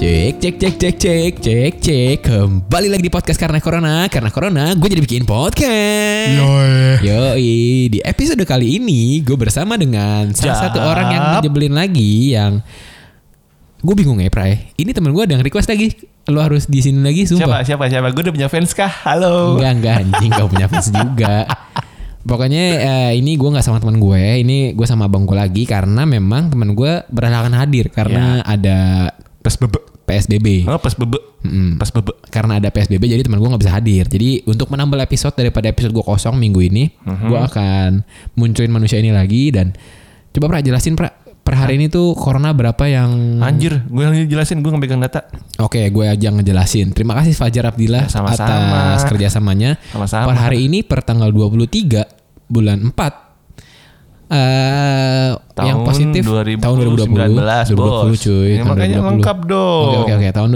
cek cek cek cek cek cek kembali lagi di podcast karena corona karena corona gue jadi bikin podcast. Yoi. Yoi di episode kali ini gue bersama dengan salah Jap. satu orang yang menjebelin lagi yang gue bingung ya Pray. Ini temen gue ada yang request lagi lo harus di sini lagi Siapa sumpah. siapa siapa? Gue udah punya fans kah? Halo. Enggak enggak anjing gak punya fans juga. Pokoknya eh, ini gue nggak sama teman gue, ini gue sama abang gue lagi karena memang teman gue berhalangan hadir karena ada Pas bebe. PSBB. Ya. Oh, pas bebe. Mm-mm. Pas bebe. karena ada PSBB jadi teman gue nggak bisa hadir. Jadi untuk menambal episode daripada episode gue kosong minggu ini, Mhm. gue akan munculin manusia ini lagi dan coba pra jelasin pra per hari ini tuh corona berapa yang Anjir, gue yang jelasin, gue ngepegang data. Oke, gue aja ngejelasin. Terima kasih Fajar Abdillah Ya, sama-sama. atas kerjasamanya. Sama-sama. Per hari ini per tanggal 23 bulan 4 eh Tahun yang positif 2019, tahun 2020 bos. 2020 cuy. Ya, tahun makanya 2020. lengkap dong. Oke oke oke tahun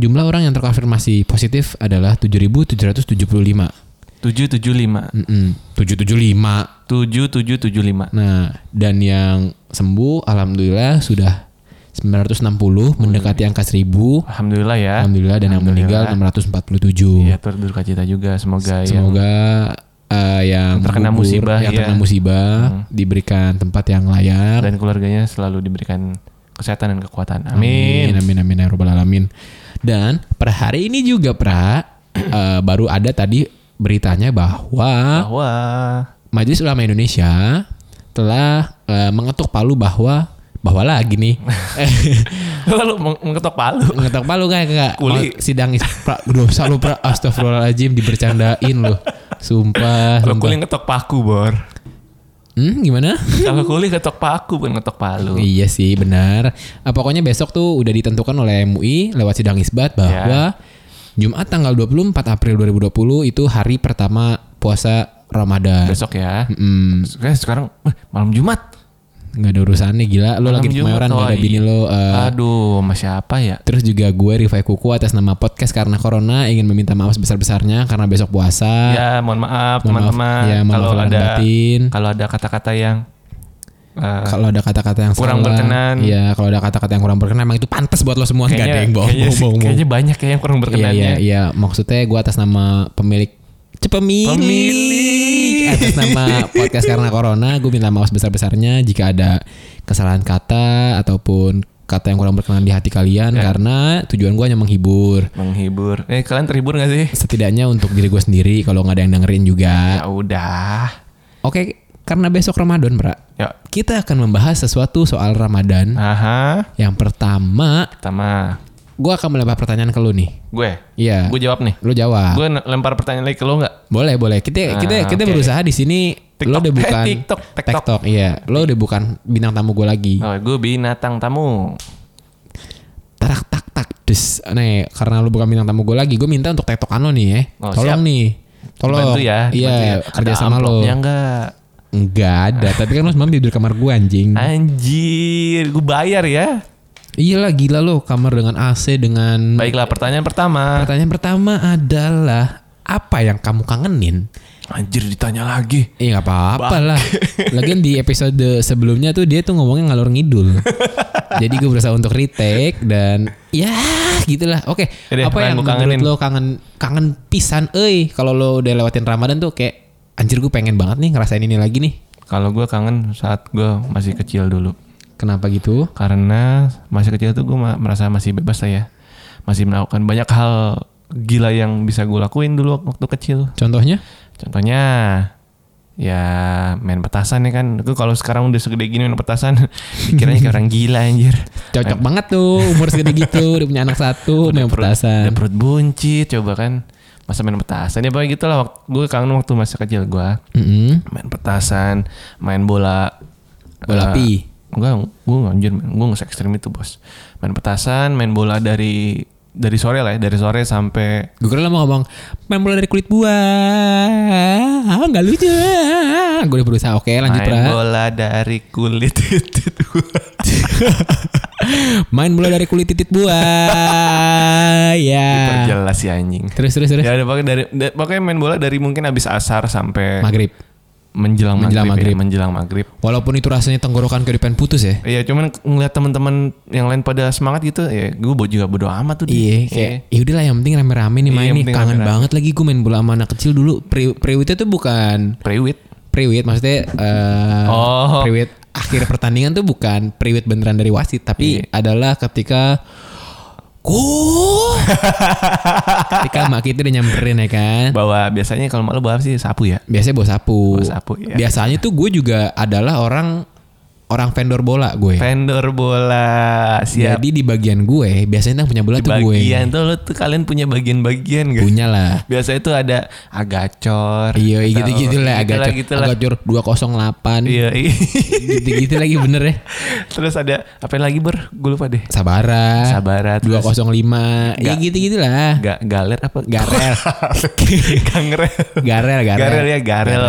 2020 jumlah orang yang terkonfirmasi positif adalah 7.775. 775. Mm-mm, 775. 7775. Nah, dan yang sembuh alhamdulillah sudah 960 mendekati angka 1000. Alhamdulillah ya. Alhamdulillah dan yang meninggal 647. Iya, berduka cita juga semoga, ya. yang Semoga eh, yang terkena gugur, musibah, yang iya. Hmm. terkena musibah diberikan tempat yang layak. dan keluarganya selalu diberikan kesehatan dan kekuatan. Amin, Amin. amin, amin, ya Rabbal alamin. Dan per hari ini juga pra eh, baru ada tadi beritanya bahwa Bahwa Majelis Ulama Indonesia telah eh, mengetuk palu bahwa bahwa lagi nih lalu meng- mengetok palu. ngetok palu kayak kakak Kuli. Mau Oh, sidang is- pra, dosa lu pra astagfirullahaladzim dibercandain lu sumpah Kalau sumpah. kuli ngetok paku, Bor. Hmm, gimana Kalau kuli ngetok paku bukan ngetok palu. Iya sih benar. Ah, pokoknya besok tuh udah ditentukan oleh MUI lewat sidang isbat Ya. bahwa Jumat tanggal 24 April 2020 itu hari pertama puasa Ramadan. Besok ya. Hmm, Sekarang, sekarang eh, malam Jumat. nggak ada urusannya gila. Lo lagi di Malam Jumat, Kemayoran nggak ada oh, bini iya. lo. eh, Aduh, sama siapa ya? Terus juga gue Rifai Kuku atas nama podcast karena corona ingin meminta maaf sebesar-besarnya karena besok puasa. Ya, mohon maaf Mohon maaf, teman-teman. ya, mohon kalau maaf lahir ada batin. kalau ada kata-kata yang eh, Kalau ada kata-kata yang Kurang salah, berkenan. Iya, kalau ada kata-kata yang kurang berkenan emang itu pantas buat lo semua. Gak ada yang bohong. kayaknya, sih- bohong, bohong. kayaknya banyak ya yang kurang berkenannya. Iya, iya, iya. Maksudnya gue atas nama pemilik Cepemilik Pemilik. Atas nama podcast karena corona Gue minta maaf sebesar-besarnya Jika ada kesalahan kata Ataupun kata yang kurang berkenan di hati kalian Ya. Karena tujuan gue hanya menghibur Menghibur. Eh, kalian terhibur gak sih? Setidaknya untuk diri gue sendiri Kalau nggak ada yang dengerin juga Ya udah. Oke karena besok Ramadan Pra Ya. Kita akan membahas sesuatu soal Ramadan Aha. Yang pertama Pertama, Gue akan melempar pertanyaan ke lu nih gue. Iya Ah. Gue jawab nih. Lu jawab Gue n- lempar pertanyaan lagi ke lo nggak? Boleh, boleh. Kita kita Ah, kita oke. berusaha di sini TikTok. lo udah Eh, bukan TikTok, TikTok. iya. Lo udah bukan bintang tamu gue lagi. Oh, gue binatang tamu. Tarak tak tak des. Nih, karena lo bukan bintang tamu gue lagi, gue minta untuk tektokan lo nih ya. Oh, Tolong siap. nih. Tolong. Bantu ya. Iya, dibantu ya. kerja Ada sama lo. amplopnya nggak? Enggak ada, tapi kan lo semalam tidur di kamar gue anjing. Hmm. Ah. Anjir, gue bayar ya. Iyalah Iya gila lo kamar dengan AC dengan Baiklah, pertanyaan pertama. Pertanyaan pertama adalah apa yang kamu kangenin? Anjir ditanya lagi. Iya nggak apa-apa lah. Lagian di episode sebelumnya tuh dia tuh ngomongnya ngalor ngidul. Jadi gue berusaha untuk retake dan ya gitulah. Oke, Yaudah, apa apaan yang lu menurut kangenin? lo kangen kangen pisan euy kalau lo udah lewatin Ramadan tuh kayak anjir gue pengen banget nih ngerasain ini lagi nih. Kalau gue kangen saat gue masih kecil dulu. Kenapa gitu? Karena masih kecil tuh gue merasa masih bebas lah ya. Masih melakukan banyak hal gila yang bisa gue lakuin dulu waktu kecil. Contohnya? Contohnya ya main petasan ya kan. Gue kalau sekarang udah segede gini main petasan pikirannya kayak orang gila anjir. Cocok banget tuh umur segede gitu, udah punya anak satu, main Perut- Eh. Udah petasan. perut buncit coba kan. Masa main petasan ya pokoknya gitu lah. Waktu, gue kangen waktu masa kecil gue. Mm-mm. Main petasan, main bola. Bola Eh, pi. Enggak, gue nggak anjir, men. gue nggak ekstrim itu bos. Main petasan, main bola dari dari sore lah ya, dari sore sampai Gue kira lo mau ngomong main bola dari kulit buah, ah nggak lucu. Gue udah berusaha. Oke, lanjut main Ra. bola dari kulit titit gua. Main bola dari kulit titit buah. ya. Diperjelas ya anjing. Terus terus terus. Ya ada pokoknya dari da- pokoknya main bola dari mungkin abis asar sampai Maghrib. menjelang, Menjelang maghrib. maghrib, ya, menjelang maghrib. Walaupun itu rasanya tenggorokan gue pengen putus ya. Iya, cuman ngeliat teman-teman yang lain pada semangat gitu, ya gue bo- juga bodo amat tuh. Di. Iya, kayak ya udahlah yang penting rame-rame nih Iya, main yang nih. penting Kangen rame-rame. banget lagi gue main bola sama anak kecil dulu. Pre priwitnya tuh bukan Priwit. priwit maksudnya eh Oh. priwit akhir pertandingan tuh bukan priwit beneran dari wasit tapi Iya. adalah ketika Go! ketika mak kita udah nyamperin ya kan. Bawa biasanya kalau malu bawa apa sih sapu ya. Biasanya bawa sapu. Bawa sapu, iya. Biasanya tuh gue juga adalah orang orang vendor bola gue. Vendor bola siap. Jadi di bagian gue biasanya yang punya bola Di tuh gue. bagian tuh lu tuh kalian punya bagian-bagian gak? Punya lah. Biasanya tuh ada agacor. Iya atau gitu-gitu lah agak cor, gitu lah. agak cor 208 Iya. iya. gitu-gitu lagi bener ya Terus ada apa lagi ber? Gue lupa deh. Sabara Sabara, terus- 205 Iya gitu-gitu lah Gak galer apa? Garel Gangrel. Garel Garel Garel ya Garel.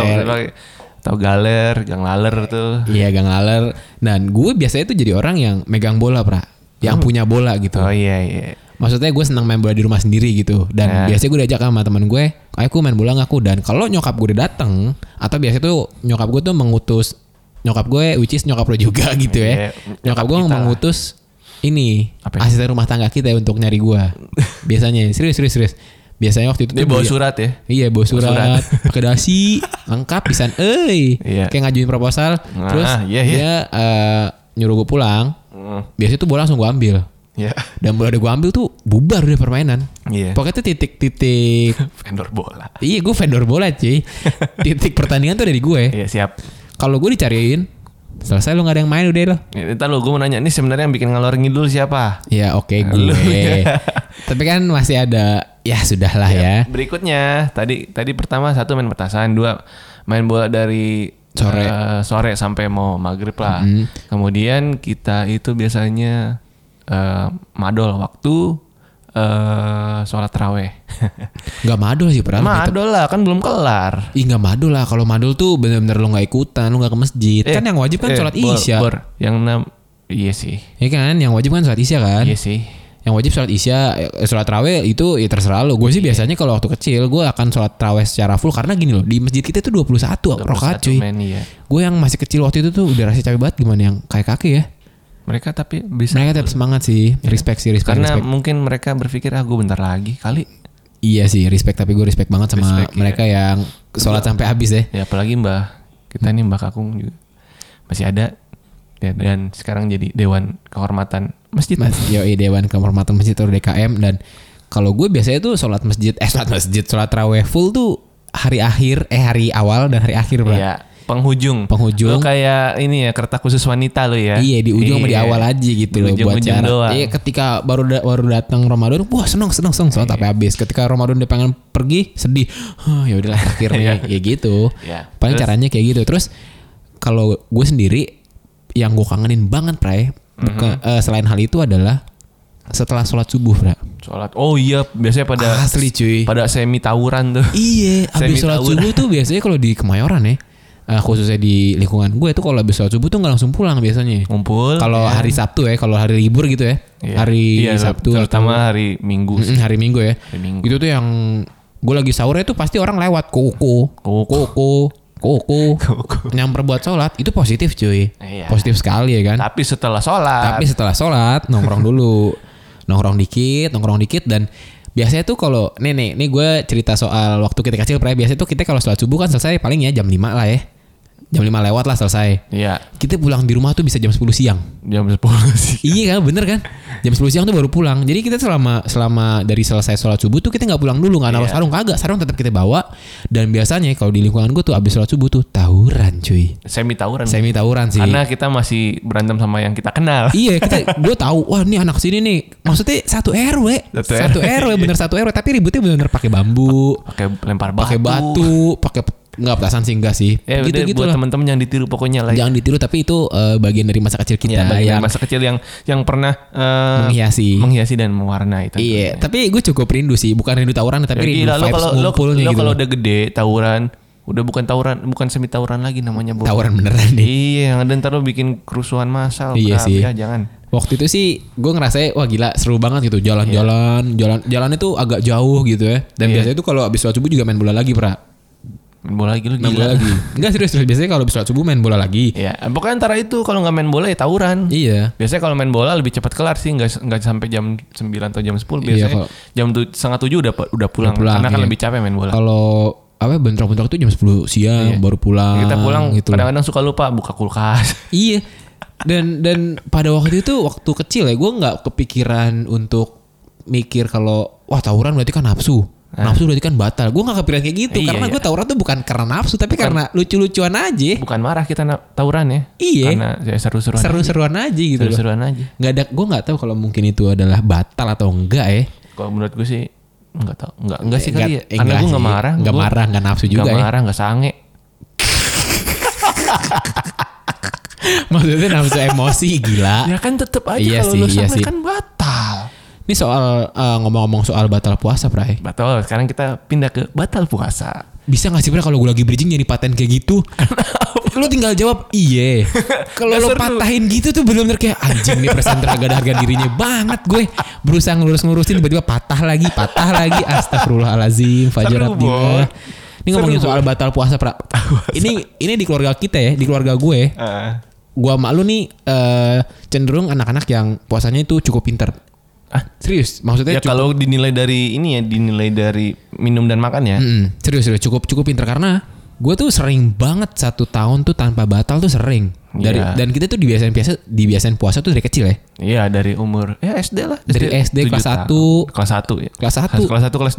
Atau galer, gang laler tuh. Iya Gang Laler Dan gue biasanya tuh jadi orang yang megang bola pra Yang punya bola gitu Oh iya iya. Maksudnya gue senang main bola di rumah sendiri gitu Ya. Dan biasanya gue diajak sama teman gue Ayo aku main bola gak aku Dan kalau nyokap gue udah dateng Atau biasanya tuh nyokap gue tuh mengutus Nyokap gue which is nyokap lo juga gitu Iya, ya Nyokap gue kita lah. mengutus Ini Apa ya? asisten rumah tangga kita untuk nyari gue Biasanya serius serius serius Biasanya waktu itu Dia tuh bawa dia- surat ya. Iya bawa surat, surat. pakai dasi lengkap pisan euy. Iya. Kayak ngajuin proposal Nah, terus iya, iya. dia eh, nyuruh gue pulang. Hmm, Biasanya tuh bola langsung gue ambil. Iya. Dan bola udah gue ambil tuh bubar udah permainan. Iya. Pokoknya tuh titik-titik Vendor bola. Iya gue vendor bola cuy Titik pertandingan tuh ada di gue Iya siap. Kalau gue dicariin Selesai lu gak ada yang main udah lo Ya, Ntar lu gue mau nanya, ini sebenarnya yang bikin ngalor ngidul siapa? Ya oke Lu, gue ya. Tapi kan masih ada Ya sudah lah Iya. ya Eh, Berikutnya, tadi tadi pertama satu main petasan, dua main bola dari Sore. Mm-hmm. eh, sore sampai mau maghrib lah. Kemudian kita itu biasanya eh, madol waktu eh sholat raweh. Gak madul sih padahal kita- madol lah, kan belum kelar. Ih gak madul lah Kalau madul tuh bener-bener lu gak ikutan Lu gak ke masjid Kan yang wajib kan Eh, sholat bor, isya bor. Yang enam, iya sih, Ya kan yang wajib kan sholat isya kan iya sih. Yang wajib sholat isya eh, Sholat raweh itu ya terserah lu Gue sih Iya. biasanya kalau waktu kecil Gue akan sholat raweh secara full Karena gini loh Di masjid kita tuh 21, 21 rokaat Satu cuy main, iya. Gue yang masih kecil waktu itu tuh udah rasanya capek banget gimana yang kayak kaki ya. Mereka tapi bisa Iya. Mereka tetap semangat sih, respect sih, respect, karena respect. mungkin mereka berpikir ah gue bentar lagi kali. Iya sih, respect tapi gue respect banget sama Respect, iya. mereka yang sholat sampai habis deh. Ya apalagi Mbah kita nih Mbah Kakung juga masih ada Ya, dan sekarang jadi dewan kehormatan masjid. Mas, yoi Dewan Kehormatan Masjid atau DKM dan kalau gue biasanya tuh sholat masjid, eh sholat masjid, sholat raweh full tuh hari akhir, eh hari awal dan hari akhir bro. Iya, penghujung. Penghujung. Lu kayak ini ya kertas khusus wanita lo ya. Iya di ujung sama di awal aja gitu Di loh buat ujung-ujung cara. doang. Iya ketika baru da- baru datang Ramadan, wah seneng seneng seneng Iya. sholat sampai habis. Ketika Ramadan dia pengen pergi sedih, Hah, ya udahlah akhirnya ya gitu. Iya. Paling Terus? caranya kayak gitu. Terus kalau gue sendiri yang gue kangenin banget Pray, Mm-hmm. buka, eh, selain hal itu adalah setelah sholat subuh, Pra. Sholat. Oh iya, biasanya pada Asli cuy. pada semi tawuran tuh. Iya, Semi habis sholat tawuran. subuh tuh biasanya kalau di Kemayoran ya, eh, khususnya di lingkungan gue tuh kalau habis sholat subuh tuh nggak langsung pulang biasanya. Ngumpul. Iya. Kalau hari Sabtu ya, kalau hari libur gitu ya, Oh, Iya. hari Iya, Sabtu terutama atau- hari Minggu. Mm-mm, hari Minggu ya, Hari Minggu. itu tuh yang gue lagi sahurnya tuh pasti orang lewat koko, Koko. koko, koko, nyamper buat sholat itu positif cuy, Iya. positif sekali ya kan. Tapi setelah sholat. Tapi setelah sholat nongkrong dulu, nongkrong dikit, nongkrong dikit dan biasanya tuh kalau nih nih nih gue cerita soal waktu kita kecil pernah biasanya tuh kita kalau sholat subuh kan selesai paling ya jam 5 lah ya, jam 5 lewat lah selesai. Iya, Kita pulang di rumah tuh bisa jam 10 siang. jam 10 sih. Iya kan bener kan Jam 10 siang tuh baru pulang Jadi kita selama selama dari selesai sholat subuh tuh kita nggak pulang dulu nggak naruh Iya. sarung kagak Sarung tetap kita bawa Dan biasanya kalau di lingkungan gue tuh abis sholat subuh tuh tawuran cuy Semi tawuran. Semi tawuran sih Karena kita masih berantem sama yang kita kenal. Iya kita gue tahu wah ini anak sini nih maksudnya satu RW Satu satu RW bener satu RW tapi ributnya bener-bener pakai bambu Pakai lempar batu. pakai batu pakai nggak petasan sih enggak sih Ya gitu udah gitu buat lah teman-teman yang ditiru pokoknya lah. jangan ditiru tapi itu eh, bagian dari masa kecil kita Ya, bagi yang masa kecil yang yang pernah eh, menghiasi menghiasi dan mewarnai itu. Iya, tapi gue cukup rindu sih, bukan rindu tawuran tapi rindu Ya, Gila, lo vibes kalau lo, ngumpulnya lo gitu. kalau udah gede tawuran, udah bukan tawuran, bukan semi tawuran lagi namanya, Bu. tawuran beneran deh. Iya, yang ada ntar lo bikin kerusuhan massal. Iya Kak. sih. Ya, jangan. Waktu itu sih gue ngerasa wah gila seru banget gitu Iya. jalan-jalan, jalan jalan itu agak jauh gitu ya. Dan biasanya tuh kalau abis sholat subuh juga main bola lagi, Pra. Main bola lagi lu Main bola gila. lagi. Enggak serius, serius. Biasanya kalau habis sholat subuh main bola lagi. Iya, pokoknya antara itu kalau nggak main bola ya tawuran. Iya. Biasanya kalau main bola lebih cepat kelar sih, nggak nggak sampai jam 9 atau jam 10 Iya, biasanya. kalau- jam tu- setengah tujuh udah pe- udah pulang, pulang, karena kan iya. lebih capek main bola. Kalau apa ya, bentrok-bentrok itu jam 10 siang Iya. baru pulang. Kita pulang gitu. kadang-kadang suka lupa buka kulkas. Iya. Dan dan pada waktu itu waktu kecil ya gue nggak kepikiran untuk mikir kalau wah tawuran berarti kan nafsu. Nafsu berarti kan batal. Gue gak kepikiran kayak gitu Ah. Iya, karena iya. gue tawuran tuh bukan karena nafsu tapi karena lucu-lucuan aja. Bukan marah kita na- tawuran ya. Eh. Iya. Karena ya, seru-seruan. Seru-seruan aja gitu loh. Seru-seruan aja. Nggak ada gue nggak tahu kalau mungkin itu adalah batal atau enggak ya. Kalau menurut gue sih nggak tau nggak nggak sih kali ya. Nggak- eh, Karena nggak gue nggak sih. marah. Nggak gua marah, nggak nafsu juga nggak ya. marah, nggak sange. Maksudnya nafsu emosi gila. Ya kan tetep aja Ah. Iya kalau sih, lu iya sange sih. kan batal. Ini soal eh, ngomong-ngomong soal batal puasa, Pray. Batal. Sekarang kita pindah ke batal puasa. Bisa gak sih Pray kalau gue lagi bridging jadi paten kayak gitu? lu tinggal jawab iya. Kalau Nggak lo seru. patahin gitu tuh bener-bener kayak anjing nih presenter gak ada harga dirinya banget gue. Berusaha ngelurus-ngurusin tiba-tiba patah lagi, patah lagi. Astagfirullahalazim, Fajar Seru, Abdillah. Boy. Ini ngomongin Seru, soal batal puasa, Pra. ini ini di keluarga kita ya, di keluarga gue. Gua sama lu nih eh, cenderung anak-anak yang puasanya itu cukup pinter. Ah? Serius, maksudnya ya kalau dinilai dari ini ya dinilai dari minum dan makan ya. Mm-mm. serius serius cukup cukup pinter karena gue tuh sering banget satu tahun tuh tanpa batal tuh sering dari Iya. dan kita tuh dibiasain biasa dibiasain puasa tuh dari kecil ya Iya dari umur ya SD lah. Dari SD, tujuh kelas tahun. satu. Kelas 1 ya. Kelas satu. Kelas 1 kelas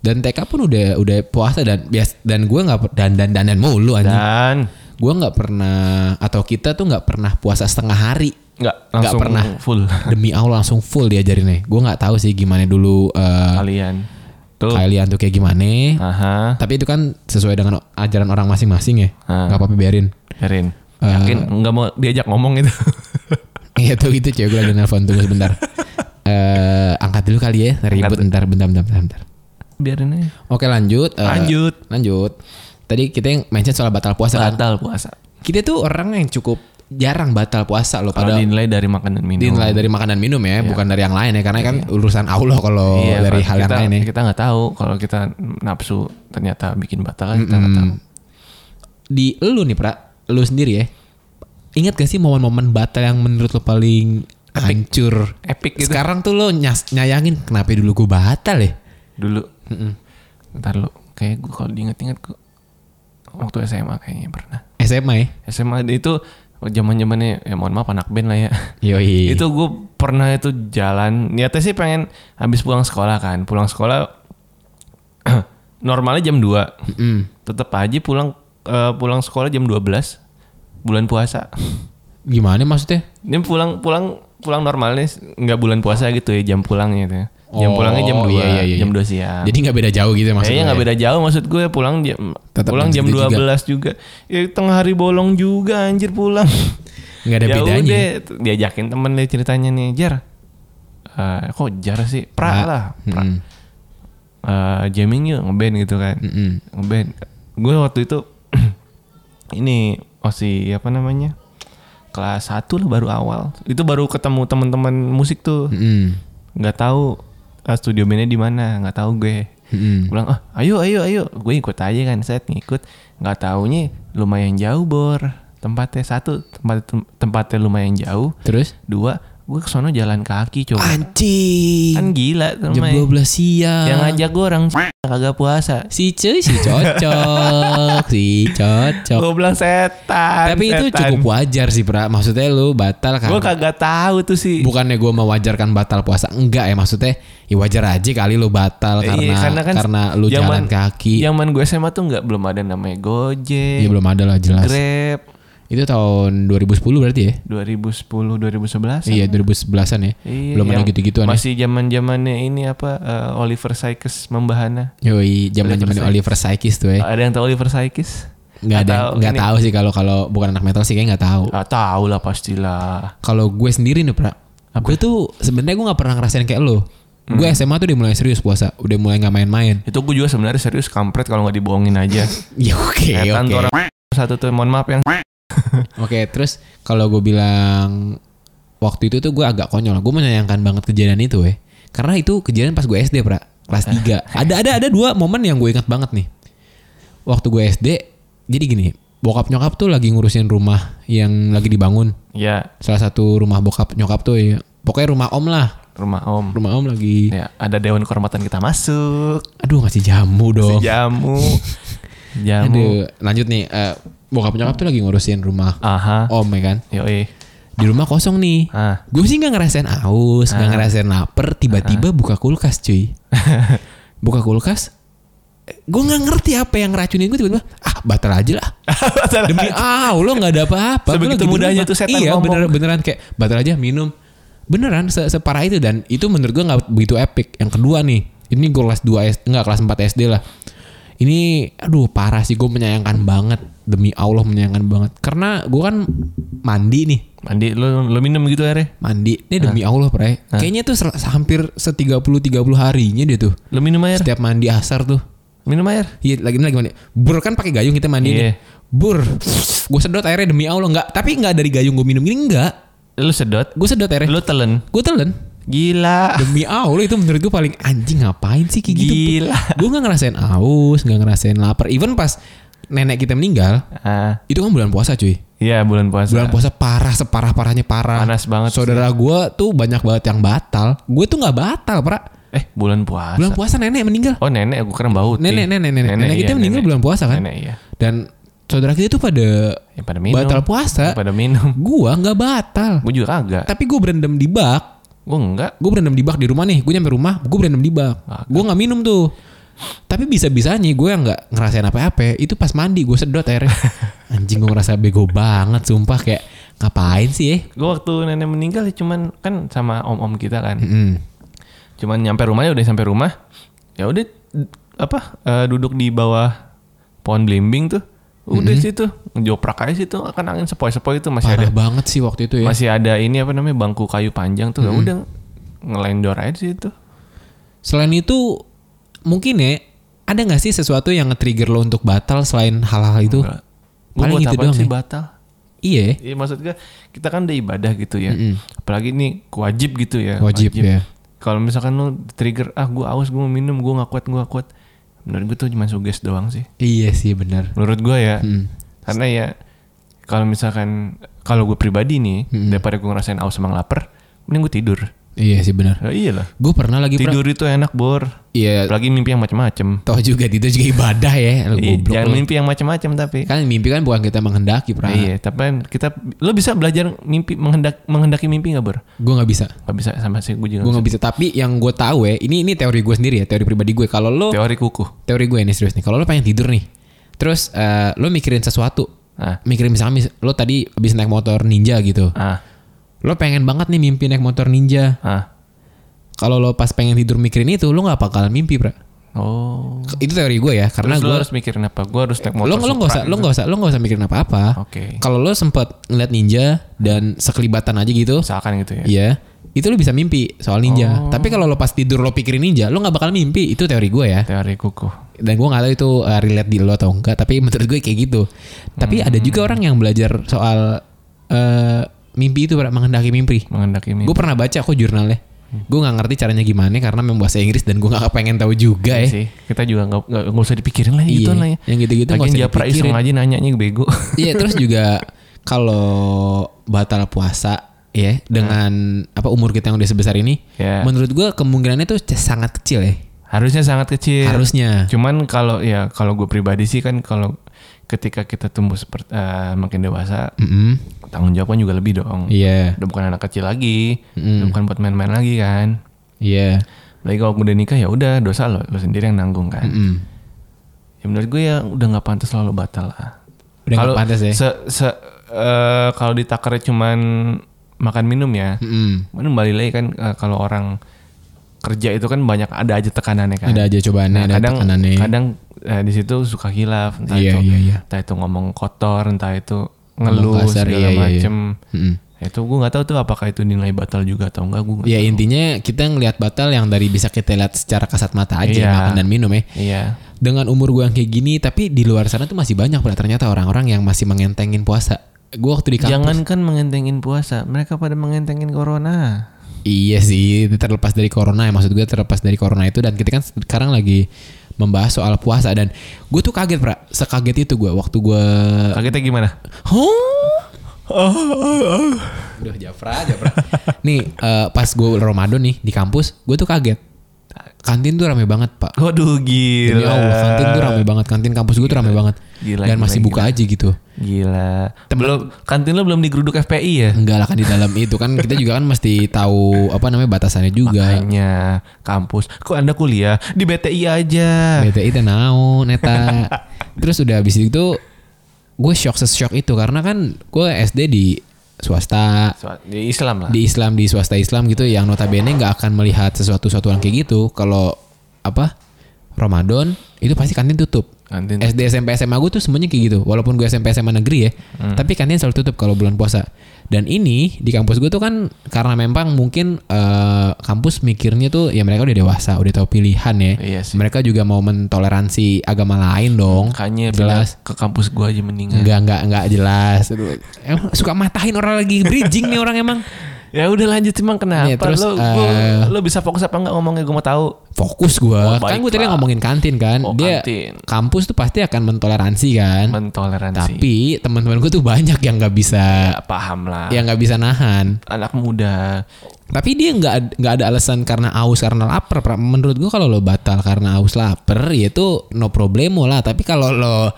2. dan TK pun udah udah puasa dan bias dan gue nggak per- dan dan dan dan mulu anjing Dan gue nggak pernah atau kita tuh nggak pernah puasa setengah hari nggak Nggak langsung pernah. full demi Allah langsung full diajarinnya gue nggak tahu sih gimana dulu eh, kalian. Tuh. kalian tuh kayak gimana Aha. tapi itu kan sesuai dengan ajaran orang masing-masing ya Ah. nggak apa-apa biarin Erin. Eh. Yakin nggak mau diajak ngomong itu. Iya tuh itu cewek gue lagi nelfon tunggu sebentar. Eh angkat dulu kali ya, ribut bentar, bentar, bentar, bentar, bentar. Biarin aja. Oke lanjut. eh, Lanjut. Lanjut. Tadi kita yang mention soal batal puasa kan. Batal puasa. Kita tuh orang yang cukup jarang batal puasa loh. Kalau Pada dinilai dari makan dan minum. dinilai dari makan dan minum ya, bukan dari yang lain ya. Karena kan urusan Allah kalau Iya, dari kalau hal yang kita- lain ya. Kita nggak tahu kalau kita nafsu ternyata bikin batal kan kita nggak tahu. Hmm. Di lu nih pra, lu sendiri ya. Ingat gak sih momen-momen batal yang menurut lo paling hancur? Epic gitu. Sekarang tuh lo nyas- nyayangin kenapa dulu gue batal ya? Dulu. Ntar lu kayak gue kalau diinget-inget gue waktu SMA kayaknya pernah. SMA ya? SMA itu zaman zamannya ya mohon maaf anak band lah ya. Yoi. itu gue pernah itu jalan niatnya sih pengen habis pulang sekolah kan pulang sekolah normalnya jam 2 Mm. tetap aja pulang eh, pulang sekolah jam 12 bulan puasa Gimana maksudnya? ini pulang pulang pulang normalnya s- nggak bulan puasa gitu ya jam pulangnya itu ya. jam Oh, pulangnya jam 2 iya, iya, iya. jam 2 siang Jadi nggak beda jauh gitu ya maksudnya. Nah. Kayaknya nggak ya? beda jauh maksud gue pulang jam Tetap pulang jam jam segitu 12 juga. juga. Ya tengah hari bolong juga anjir pulang. Nggak ada ya bedanya. udah diajakin temen deh ceritanya nih, Jar. Eh, kok jar sih? Pra Pra. lah. Pra. Ah, Mm-mm. Eh, jamming yuk ngeband gitu kan. Mm-mm. Ngeband. Gue waktu itu ini masih apa namanya? Kelas 1 lah baru awal. Itu baru ketemu teman-teman musik tuh. Mm-mm. Nggak tahu eh, studio bandnya di mana, nggak tahu gue Mm-mm. bilang ah ayo ayo ayo gue ikut aja kan set ngikut nggak taunya lumayan jauh bor tempatnya satu tempat tem- tempatnya lumayan jauh Terus? dua gue kesono jalan kaki coba kan Anjing. Ah, gila iya. Jam namanya 12 siang. yang ngajak gue orang c- kagak puasa Si cuy si cocok. si cocok. gue bilang kan setan Tapi itu cukup wajar sih, Pra. Maksudnya lu batal kan? gue kagak tahu tuh sih Bukannya gue mewajarkan batal puasa enggak ya maksudnya ya wajar aja kali lu batal Iya, karena karena, kan lu jalan zaman- iya. kaki zaman gue SMA tuh nggak belum ada namanya ya Gojek belum ada lah jelas Grab itu tahun 2010 berarti ya 2010 2011 iya 2011an ya Iya, belum ada yang gitu-gituan ya. Masih zaman zamannya ini apa eh, Oliver Sykes membahana. Yoi, zaman zaman Oliver Sykes tuh ya. Ada yang tahu Oliver Sykes? Nggak ada, Atau nggak Ah, ini- tahu sih kalau kalau bukan anak metal sih kayaknya nggak tahu. Ah, tahu lah pastilah. Kalau gue sendiri nih, Pra. Gue tuh sebenarnya gue nggak pernah ngerasain kayak lo. Gue Hmm. SMA tuh udah mulai serius puasa, udah mulai nggak main-main. Itu gue juga sebenarnya serius kampret kalau nggak dibohongin aja. Ya oke, Setan oke. tuh orang satu tuh mohon maaf yang Oke, terus kalau gue bilang waktu itu tuh gue agak konyol. Gue menyayangkan banget kejadian itu, ya. Karena itu kejadian pas gue SD, Pra. Kelas 3. ada ada ada dua momen yang gue ingat banget nih. waktu gue SD jadi gini bokap nyokap tuh lagi ngurusin rumah yang lagi dibangun ya salah satu rumah bokap nyokap tuh ya. pokoknya rumah om lah rumah om rumah om lagi ya ada dewan kehormatan kita masuk aduh ngasih jamu dong jamu jamu Oh. aduh lanjut nih eh, bokap nyokap tuh lagi ngurusin rumah aha om ya kan yoi di rumah kosong nih ah gue sih nggak ngerasain aus nggak ngerasain lapar tiba-tiba buka kulkas cuy buka kulkas gue nggak ngerti apa yang ngeracunin gue tiba-tiba ah batal aja lah demi Allah nggak ada apa-apa Gua Sebegitu lagi di mudahnya rumah. tuh setan iya ngomong. beneran beneran kayak batal aja minum beneran se- separah itu dan itu menurut gue nggak begitu epic yang kedua nih ini gue kelas 2 SD nggak kelas 4 SD lah ini aduh parah sih gue menyayangkan banget demi Allah menyayangkan banget karena gue kan mandi nih mandi lu lu minum gitu akhirnya mandi ini demi Ah. Allah Pray kayaknya tuh sel- hampir se 30 30 harinya dia tuh lu minum air setiap mandi asar tuh minum air Iya lagi ini lagi mandi. Bur kan pakai gayung kita mandi nih. Iya. Bur, gue sedot airnya demi Allah nggak. Tapi nggak dari gayung gue minum gini nggak. lu sedot Gue sedot airnya. lu telen Gue telan. gila Demi Allah itu menurut gue paling anjing ngapain sih kayak gitu. gila Gue nggak ngerasain aus, nggak ngerasain lapar. Even pas nenek kita meninggal, ah itu kan bulan puasa cuy. iya bulan puasa Bulan puasa parah separah parahnya parah. panas banget Saudara gue tuh banyak banget yang batal. Gue tuh nggak batal, pra. eh bulan puasa Bulan puasa nenek meninggal. oh nenek aku keren bau Nenek, nenek, nenek, nenek. kita iya, meninggal nenek. bulan puasa kan. nenek iya Dan saudara kita tuh pada Ya, pada minum batal puasa. pada minum Gua nggak batal. gue juga kagak Tapi gue berendam di bak. gue enggak Gue berendam di bak di rumah nih. Gue nyampe rumah, gue berendam di bak. Ah, Gue nggak minum tuh. Tapi bisa-bisanya gue yang nggak ngerasain apa-apa. Itu pas mandi gue sedot airnya. Anjing gue ngerasa bego banget. Sumpah kayak ngapain sih eh? gue waktu nenek meninggal ya cuman kan sama om om kita kan Mm. cuman nyampe rumahnya udah sampai rumah ya udah d- apa eh, duduk di bawah pohon belimbing tuh udah situ ngejoprak aja situ kan angin sepoi-sepoi itu masih ada Mm-hmm. Parah banget sih waktu itu ya. Mm-hmm. masih ada ini apa namanya bangku kayu panjang tuh ya udah ngelendor aja situ Selain itu mungkin ya ada nggak sih sesuatu yang nge-trigger lo untuk batal selain hal-hal itu? Enggak. Gue Paling buat gitu apa doang sih ya. batal? Iya. ya. Iya maksud gue kita kan udah ibadah gitu ya. Apalagi ini wajib gitu ya. Mm-hmm. Wajib, ya. Kalau misalkan lu trigger ah gue aus gue mau minum gue nggak kuat gue nggak kuat. Menurut gue tuh cuma suges doang sih. Iya sih benar. Menurut gue ya. Mm. Karena ya kalau misalkan kalau gue pribadi nih daripada gue ngerasain aus emang lapar mending gue tidur. Iya sih benar. Ya, iya lah. Gue pernah lagi pra- Tidur itu enak bor. Iya, Apalagi mimpi yang macem-macem. Toh juga itu juga ibadah ya. Lu Iya, goblok. jangan lu. mimpi yang macem-macem tapi. Kan mimpi kan bukan kita menghendaki, Pra. Iya, tapi kan kita lo bisa belajar mimpi menghendak menghendaki mimpi nggak ber? Gue nggak bisa. Gak bisa sama sih gue Gue juga. nggak nggak bisa. Tapi yang gue tahu ya, ini ini teori gue sendiri ya, teori pribadi gue. Kalau bisa. lo Teori kuku. teori gue ini serius nih. Kalau lo pengen tidur nih, terus eh, lo mikirin sesuatu, Ah, mikirin misalnya mis- lo tadi habis naik motor ninja gitu. ah, Lo pengen banget nih mimpi naik motor ninja. ah. Kalau lo pas pengen tidur mikirin itu, lo nggak bakal mimpi, Pra. Oh. Ke- Itu teori gue ya, karena Terus lo gue harus mikirin apa? Gue harus naik motor. lo lo nggak usah Supra. lo nggak usah lo nggak usah mikirin apa-apa. Oke. Kalau lo sempet ngeliat ninja dan sekelibatan aja gitu, Misalkan gitu ya. Iya. Itu lu bisa mimpi soal Oh. ninja. Tapi kalau lo pas tidur lo pikirin ninja, lo nggak bakal mimpi. Itu teori gue ya. Teori kuku. Dan gue nggak tahu itu uh, relate di lo atau enggak. Tapi menurut gue kayak gitu. Tapi ada juga Hmm. orang yang belajar soal eh, mimpi itu Pra, menghendaki mimpi. Menghendaki mimpi. Gue pernah baca kok jurnalnya. Hmm. Gue nggak ngerti caranya gimana karena memang bahasa Inggris dan gue nggak pengen tahu juga ya. Iya sih. Kita juga nggak nggak nggak usah dipikirin lah gitu Iya, lah ya. yang gitu-gitu nggak Lagian usah japra dipikirin. iseng aja nanyanya bego. Iya terus juga kalau batal puasa Iya. ya dengan apa umur kita yang udah sebesar ini, Ya. menurut gue kemungkinannya tuh sangat kecil ya. Harusnya sangat kecil. Harusnya. Cuman kalau ya kalau gue pribadi sih kan kalau ketika kita tumbuh seperti eh, makin dewasa Mm-mm. tanggung jawabnya juga lebih dong. Iya. Udah bukan anak kecil lagi, Mm. udah bukan buat main-main lagi kan. Iya. Lagi kalau udah nikah ya udah dosa lo, lo sendiri yang nanggung kan. Mm-mm. Ya menurut gue ya udah nggak pantas lo, lo batal lah. Udah Kalau nggak pantas ya. Se, se- eh, kalau ditakarnya cuman makan minum ya, Mm-mm. mana kembali lagi kan eh, kalau orang kerja itu kan banyak ada aja tekanannya kan. Ada aja cobaannya, Nah, ada kadang tekanannya. kadang eh, di situ suka hilaf, entah Iya, itu iya, iya. entah itu ngomong kotor, entah itu ngeluh kasar, iya, iya, segala iya. macem. Ya, Mm-mm. Itu gue nggak tahu tuh apakah itu nilai batal juga atau enggak gue. nggak Ya tahu. intinya kita ngelihat batal yang dari bisa kita lihat secara kasat mata aja Iya. makan dan minum ya. Iya. Dengan umur gue yang kayak gini, tapi di luar sana tuh masih banyak Pra, ternyata orang-orang yang masih mengentengin puasa. Gue waktu di kampus. Jangankan mengentengin puasa, mereka pada mengentengin corona. Iya sih, itu terlepas dari corona ya maksud gue terlepas dari corona itu dan kita kan sekarang lagi membahas soal puasa dan gue tuh kaget pra sekaget itu gue waktu gue Kagetnya gimana? Eh. huh? udah Jafra Jafra nih eh, pas gue Ramadan nih di kampus gue tuh kaget kantin tuh rame banget pak Waduh Demi gila. Allah, kantin tuh rame banget kantin kampus gue tuh rame banget Gila, dan gila, masih buka aja gitu Gila. Belum kantin lo belum digeruduk FPI ya? enggak lah kan di dalam itu kan kita juga kan mesti tahu apa namanya batasannya juga Hanya kampus. Kok Anda kuliah di BTI aja? BTI teh naon eta. Terus udah habis itu gue shock seshock itu karena kan gue SD di swasta Soal- Di Islam lah. di Islam di swasta Islam gitu yang notabene nggak akan melihat sesuatu sesuatuan kayak gitu kalau apa Ramadan itu pasti kantin tutup Kantin. SD SMP SMA gue tuh semuanya kayak gitu walaupun gue SMP SMA negeri ya Hmm. tapi kantin selalu tutup kalau bulan puasa dan ini di kampus gue tuh kan karena memang mungkin eh, kampus mikirnya tuh ya mereka udah dewasa udah tahu pilihan ya Iya sih. mereka juga mau mentoleransi agama lain dong Makanya jelas bilang ke kampus gua aja mendingan. Enggak, enggak, enggak jelas. Emang suka matahin orang lagi bridging nih orang emang. Ya udah lanjut emang kenapa? Nih, Iya, terus, lo, eh, gua- lo bisa fokus apa nggak ngomongnya gue mau tahu. fokus gua Oh, kan gue tadi baiklah. ngomongin kantin kan Oh, dia kantin. kampus tuh pasti akan mentoleransi kan Mentoleransi. tapi teman-teman gue tuh banyak yang nggak bisa Ya, paham lah. yang nggak bisa nahan Anak muda. tapi dia nggak ad- nggak ada alasan karena aus karena lapar Pra. menurut gua kalau lo batal karena aus lapar ya itu no problemo lah tapi kalau lo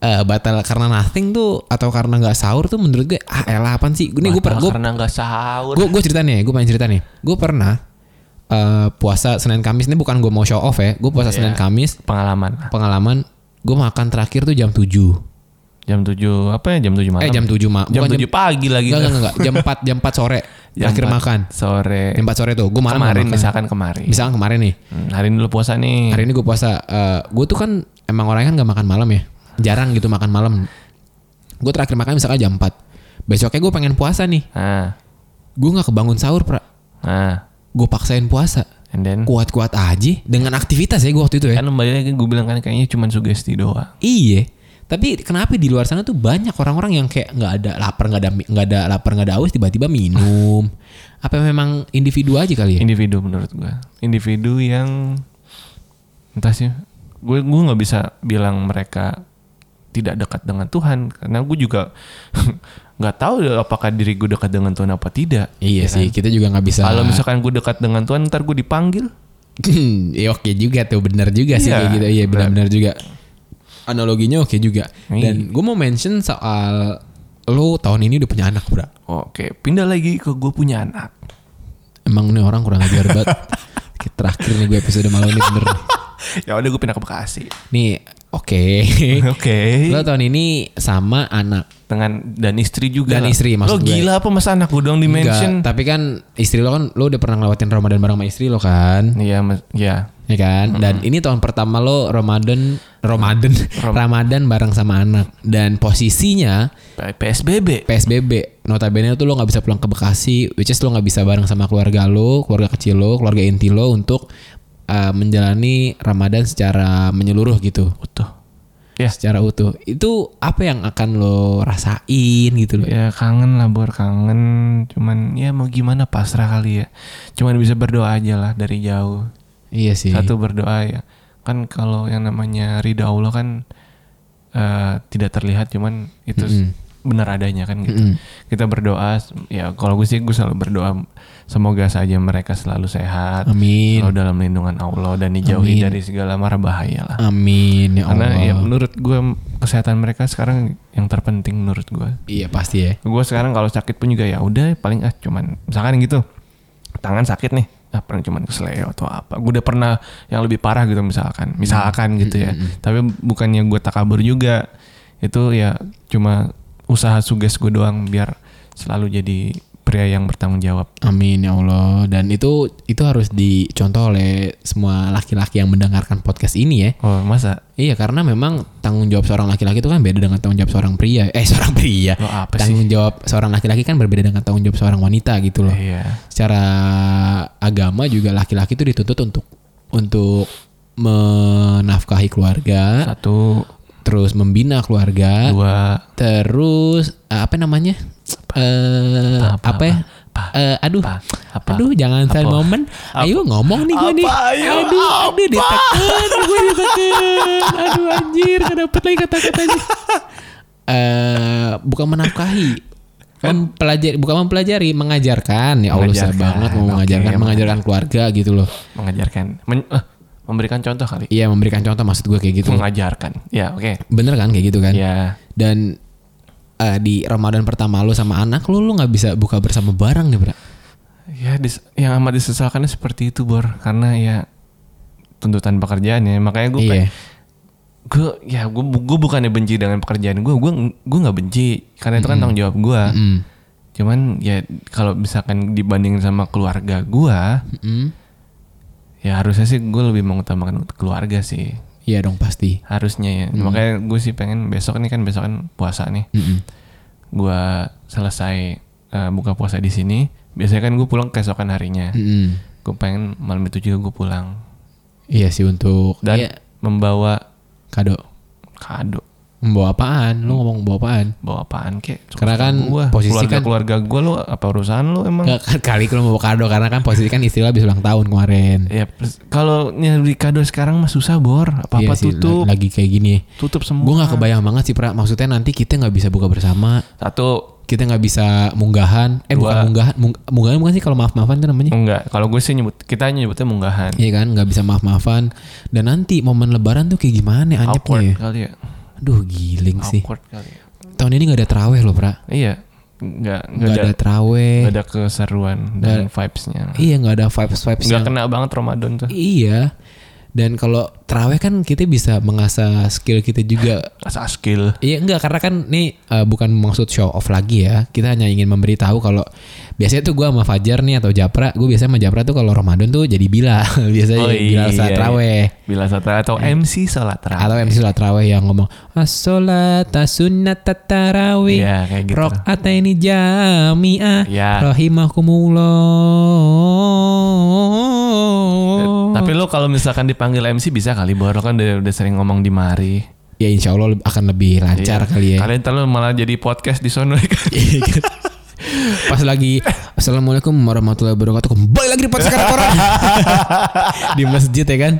eh, batal karena nothing tuh atau karena nggak sahur tuh menurut gue ah elah apaan sih ini gue pernah Batal gue karena nggak sahur. gue gue ceritanya gue pengen cerita nih gue pernah eh, puasa senin kamis ini bukan gue mau show off ya gue puasa Iya. senin kamis pengalaman lah. pengalaman gue makan terakhir tuh jam 7 Jam 7 apa ya? Jam 7 malam. eh jam 7 ma Jam bukan 7 pagi lagi. enggak, tuh. enggak, enggak, jam 4 jam 4 sore Jam terakhir empat makan Sore. jam 4 sore tuh gue malam kemarin nggak makan. misalkan kemarin. misalkan kemarin nih Hmm, hari ini lu puasa nih. hari ini gue puasa gue tuh kan emang orangnya kan gak makan malam ya jarang gitu makan malam gue terakhir makan misalkan jam 4 besoknya gue pengen puasa nih Nah. gue nggak kebangun sahur pra Nah. gue paksain puasa And then kuat-kuat aja dengan aktivitas ya gue waktu itu ya kan kembali lagi gue bilang kan kayaknya cuma sugesti doang. Iya. Tapi kenapa di luar sana tuh banyak orang-orang yang kayak nggak ada lapar, nggak ada nggak ada lapar, nggak ada haus tiba-tiba minum. Apa memang individu aja kali ya? Individu menurut gue. Individu yang entah sih. Gue gue nggak bisa bilang mereka tidak dekat dengan Tuhan karena gue juga nggak tahu apakah diri gue dekat dengan Tuhan apa tidak. Iya sih, kita juga nggak bisa. kan? Kalau misalkan gue dekat dengan Tuhan, ntar gue dipanggil. ya oke juga tuh, bener juga sih Iya, kayak gitu. Iya benar-benar juga. Analoginya oke juga. Dan gue mau mention soal lo tahun ini udah punya anak, bro. Oke, pindah lagi ke gue punya anak. Emang nih orang kurang ajar banget. Kayak Terakhir nih gue episode malam ini bener. ya udah gue pindah ke Bekasi. Nih, oke. Oke. lo tahun ini sama anak. Dengan dan istri juga. Dan lah. istri, maksud Lo gue. gila apa mas anak gue dong di mention? Enggak, tapi kan istri lo kan lo udah pernah ngelewatin Ramadan bareng sama istri lo kan, Iya, mas- iya. ya kan? Dan ini tahun pertama lo Ramadan Ramadan Ramadan bareng sama anak dan posisinya P- PSBB. PSBB. Notabene tuh lo nggak bisa pulang ke Bekasi, which is lo nggak bisa bareng sama keluarga lo, keluarga kecil lo, keluarga inti lo untuk eh, menjalani Ramadan secara menyeluruh gitu. Utuh. Ya, Secara utuh. Itu apa yang akan lo rasain gitu loh. ya kangen lah Bor, kangen. Cuman ya mau gimana pasrah kali ya. Cuman bisa berdoa aja lah dari jauh. Iya sih. Satu berdoa ya. Kan kalau yang namanya ridha Allah kan eh, tidak terlihat cuman itu benar adanya kan gitu. Kita berdoa ya kalau gue sih gue selalu berdoa semoga saja mereka selalu sehat. Amin. Selalu dalam lindungan Allah dan dijauhi dari segala mara bahaya lah. Amin ya Karena Allah. ya menurut gue kesehatan mereka sekarang yang terpenting menurut gue. Iya pasti ya. Gue sekarang kalau sakit pun juga ya udah paling ah cuman misalkan gitu tangan sakit nih ah paling cuman kesleo atau apa. Gue udah pernah yang lebih parah gitu misalkan, misalkan gitu ya. Mm-hmm. Tapi bukannya gue takabur juga itu ya cuma usaha suges gue doang biar selalu jadi pria yang bertanggung jawab. Amin ya Allah. Dan itu itu harus dicontoh oleh semua laki-laki yang mendengarkan podcast ini ya. Oh masa? Iya karena memang tanggung jawab seorang laki-laki itu kan beda dengan tanggung jawab seorang pria. Eh seorang pria. Lo Oh, apa sih? Tanggung jawab seorang laki-laki kan berbeda dengan tanggung jawab seorang wanita gitu loh. Iya. Secara agama juga laki-laki itu dituntut untuk untuk menafkahi keluarga, Satu, terus membina keluarga, dua, terus eh, apa namanya? Eh apa, ya? Eh, aduh, Apa? Apa? aduh jangan Apa? saya momen. Ayo ngomong nih gue nih. Apa? Ayo, aduh, aduh ditekan, gue ditekan. Aduh anjir, gak dapet lagi kata-katanya. Eh, bukan menafkahi. Mempelajari, bukan mempelajari, mengajarkan. Ya Allah, susah Kan? Mengajarkan, banget mau oke, mengajarkan, mengajarkan keluarga gitu loh. mengajarkan Men- eh, memberikan contoh kali Iya, memberikan contoh maksud gue kayak gitu. mengajarkan ya oke Bener kan kayak gitu kan? ya Dan eh, di Ramadan pertama lu sama anak lu, lu nggak bisa buka bersama bareng nih, Bra. ya dis- yang amat disesalkannya seperti itu bor karena ya tuntutan pekerjaannya makanya gue Iya. gue ya gue gue bukannya benci dengan pekerjaan gue gue gue nggak benci karena itu kan tanggung jawab gue Mm. cuman ya kalau misalkan dibandingin sama keluarga gue Mm. ya harusnya sih gue lebih mengutamakan keluarga sih Iya dong pasti. harusnya ya makanya gue sih pengen besok nih kan besok kan puasa nih Mm-mm. gue selesai eh, buka puasa di sini biasanya kan gue pulang keesokan harinya Mm-mm. gue pengen malam itu juga gue pulang Iya sih untuk dan Iya, membawa kado. kado Membawa apaan? Lu ngomong bawa apaan? bawa apaan kek Karena kan gua. posisi keluarga kan- keluarga gue lo apa urusan lo emang Nggak, kan kali lu mau bawa kado karena kan posisi kan istri lu habis ulang tahun kemarin. ya pers- kalau nyari kado sekarang mah susah bor apa Iya apa sih, tutup lagi kayak gini. tutup semua Gue nggak kebayang banget sih, Pra. Maksudnya nanti kita nggak bisa buka bersama, satu kita nggak bisa munggahan. Eh bukan Dua. Hmm. munggahan, Mung- munggahan bukan sih kalau maaf maafan tuh namanya. enggak kalau gue sih nyebut kita nyebutnya munggahan Iya kan, nggak bisa maaf maafan. Dan nanti momen Lebaran tuh kayak gimana? Anjepnya. awkward ya? kali ya Aduh giling sih. awkward kali ya Tahun ini nggak ada teraweh loh, Pra. iya nggak nggak Nggak ada ada teraweh. nggak ada keseruan dan vibesnya Iya nggak ada vibes vibes nggak kena banget Ramadan tuh Iya. Dan kalau teraweh kan kita bisa mengasah skill kita juga. asal skill Iya enggak karena kan nih eh, bukan maksud show off lagi ya. Kita hanya ingin memberitahu kalau biasanya tuh gue sama Fajar nih atau Japra, gue biasanya sama Japra tuh kalau Ramadan tuh jadi bila biasanya Oh, jadi bila saat iya, teraweh. bila satra atau Iya. MC sholat Atau terawih MC sholat teraweh yang ngomong As-sholat as-sunnat tarawih Iya, kayak gitu. Rok'ataini jami'ah Iya. Rahimahkumullah Eh, tapi lo kalau misalkan dipanggil MC bisa kali Bor lo kan udah, udah sering ngomong di mari ya Iya. insya Allah leb- akan lebih lancar kali ya. kalian terlalu malah jadi podcast di sono ya kan? Iya kan? Pas lagi Assalamualaikum warahmatullahi wabarakatuh Kembali lagi di podcast sekarang orang Di masjid ya kan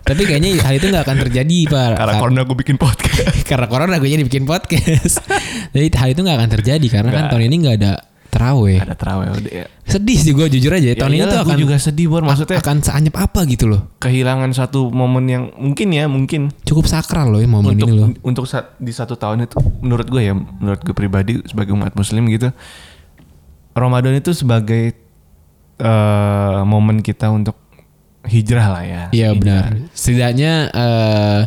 Tapi kayaknya hal itu nggak akan terjadi Pak karena Kar- corona gue bikin podcast Karena corona gue dibikin podcast Jadi hal itu nggak akan terjadi Karena kan tahun ini nggak ada terawih ada terawih udah ya. Sedih sih gue jujur aja ya, Tahun ini tuh iyalah, gua akan juga sedih Bor maksudnya Akan seanyap apa gitu loh kehilangan satu momen yang mungkin ya mungkin Cukup sakral loh ya momen untuk ini loh untuk sa- di satu tahun itu menurut gue ya menurut gue pribadi sebagai umat muslim gitu Ramadan itu sebagai eh, momen kita untuk hijrah lah ya Iya benar. Setidaknya eh,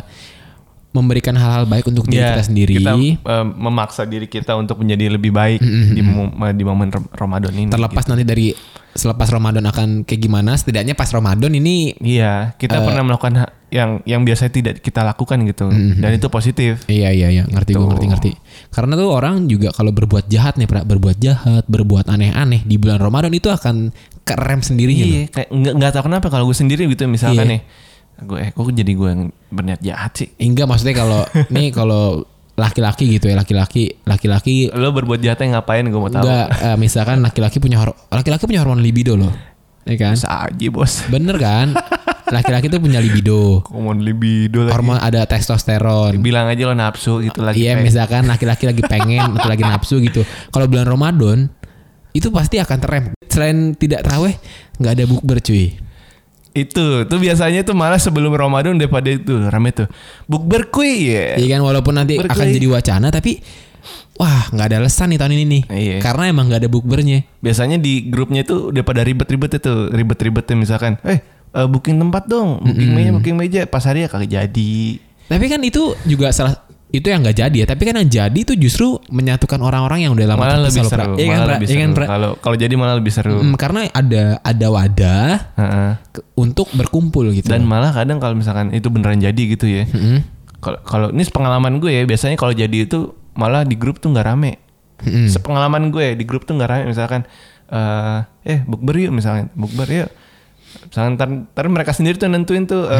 memberikan hal-hal baik untuk diri Ya, kita sendiri. kita eh, memaksa diri kita untuk menjadi lebih baik di, mom- eh, di momen Rom- Ramadan Mm-hmm, ini gitu. terlepas nanti dari selepas Ramadan akan kayak gimana, setidaknya pas Ramadan ini iya Eh. kita pernah melakukan ha- yang yang biasanya tidak kita lakukan gitu Mm-hmm. dan itu positif Iya iya iya, ngerti gue ngerti ngerti. Karena tuh orang juga kalau berbuat jahat nih, Pra, berbuat jahat, berbuat aneh-aneh di bulan Ramadan itu akan kerem sendiri gitu. Iya, kayak nggak nggak tahu kenapa kalau gue sendiri gitu misalkan Iya. nih, gue eh kok jadi gue yang berniat jahat sih. Enggak maksudnya kalau nih kalau laki-laki gitu ya, laki-laki laki-laki Lo berbuat jahatnya ngapain gue mau tahu? enggak eh, misalkan laki-laki punya hor- laki-laki punya hormon libido loh. Ya kan? Bisa aja bos. Bener kan? Laki-laki tuh punya libido. Komon libido lagi. Hormon ada testosteron. Bilang aja lo nafsu gitu lagi. Iya, kayak- misalkan laki-laki lagi pengen atau lagi nafsu gitu. Kalau bulan Ramadan itu pasti akan terem. Selain tidak teraweh, nggak ada bukber Eh, cuy. Itu, tuh biasanya tuh malah sebelum Ramadan daripada itu rame tuh. Bukber kuy ya. Iya kan walaupun nanti Bukber akan cuy. jadi wacana tapi wah nggak ada alasan nih tahun ini nih. Iya. Karena emang nggak ada bukbernya. Biasanya di grupnya tuh udah pada ribet-ribet itu, ribet-ribetnya misalkan, eh eh, booking tempat dong, booking meja, booking meja, pas hari ya kagak jadi. Tapi kan itu juga salah itu yang nggak jadi ya. Tapi kan yang jadi itu justru menyatukan orang-orang yang udah lama malah terpisah lebih loh, Pra. seru, Iya kan, malah Pra? lebih Iya kan, seru. Pra? Kalau kalau jadi malah lebih seru. Mm, karena ada ada wadah Heeh. ke- untuk berkumpul gitu. dan malah kadang kalau misalkan itu beneran jadi gitu ya Mm-mm. kalau kalau ini pengalaman gue ya biasanya kalau jadi itu malah di grup tuh nggak rame Hmm. sepengalaman gue di grup tuh nggak rame misalkan eh, eh bukber yuk misalkan bukber yuk misalkan ntar, ntar mereka sendiri tuh nentuin tuh eh,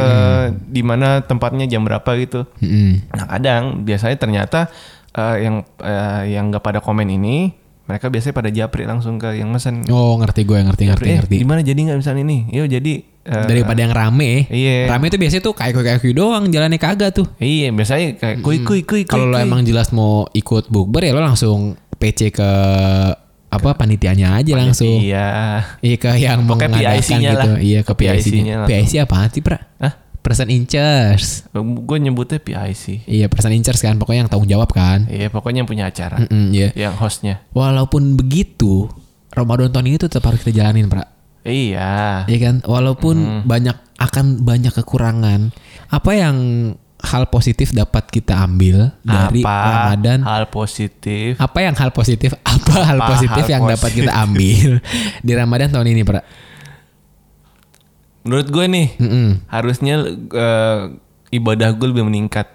Hmm. di mana tempatnya jam berapa gitu Mm-mm. nah kadang biasanya ternyata eh, yang eh, yang nggak pada komen ini mereka biasanya pada japri langsung ke yang mesen Oh ngerti gue ngerti ngerti Eh, ngerti. gimana jadi nggak misalnya ini yo jadi eh, Daripada yang rame. iya. Rame itu biasanya tuh kayak kayak doang jalannya kagak tuh. iya biasanya kayak kui kui kui kui, Hmm. Kalau lo kui. emang jelas mau ikut bukber ya lo langsung PC ke apa panitianya aja langsung. Iya. iya ke yang Pokoknya mengadakan PIC-nya gitu. lah. Iya ke PIC-nya. PIC-nya PIC apaan sih, Pra? Hah? Person in charge. gue nyebutnya PIC Iya, person in charge kan pokoknya yang tanggung jawab kan. iya pokoknya yang punya acara Mm-mm, iya. yang hostnya Walaupun begitu, Ramadan tahun ini tuh tetap harus kita jalanin, Pra. iya Iya kan? Hmm. Walaupun banyak akan banyak kekurangan, apa yang hal positif dapat kita ambil dari apa Ramadan? hal positif Apa yang hal positif? Apa hal Apa positif hal yang dapat kita ambil di Ramadan tahun ini, Pra? menurut gue nih Mm-mm. harusnya eh, ibadah gue lebih meningkat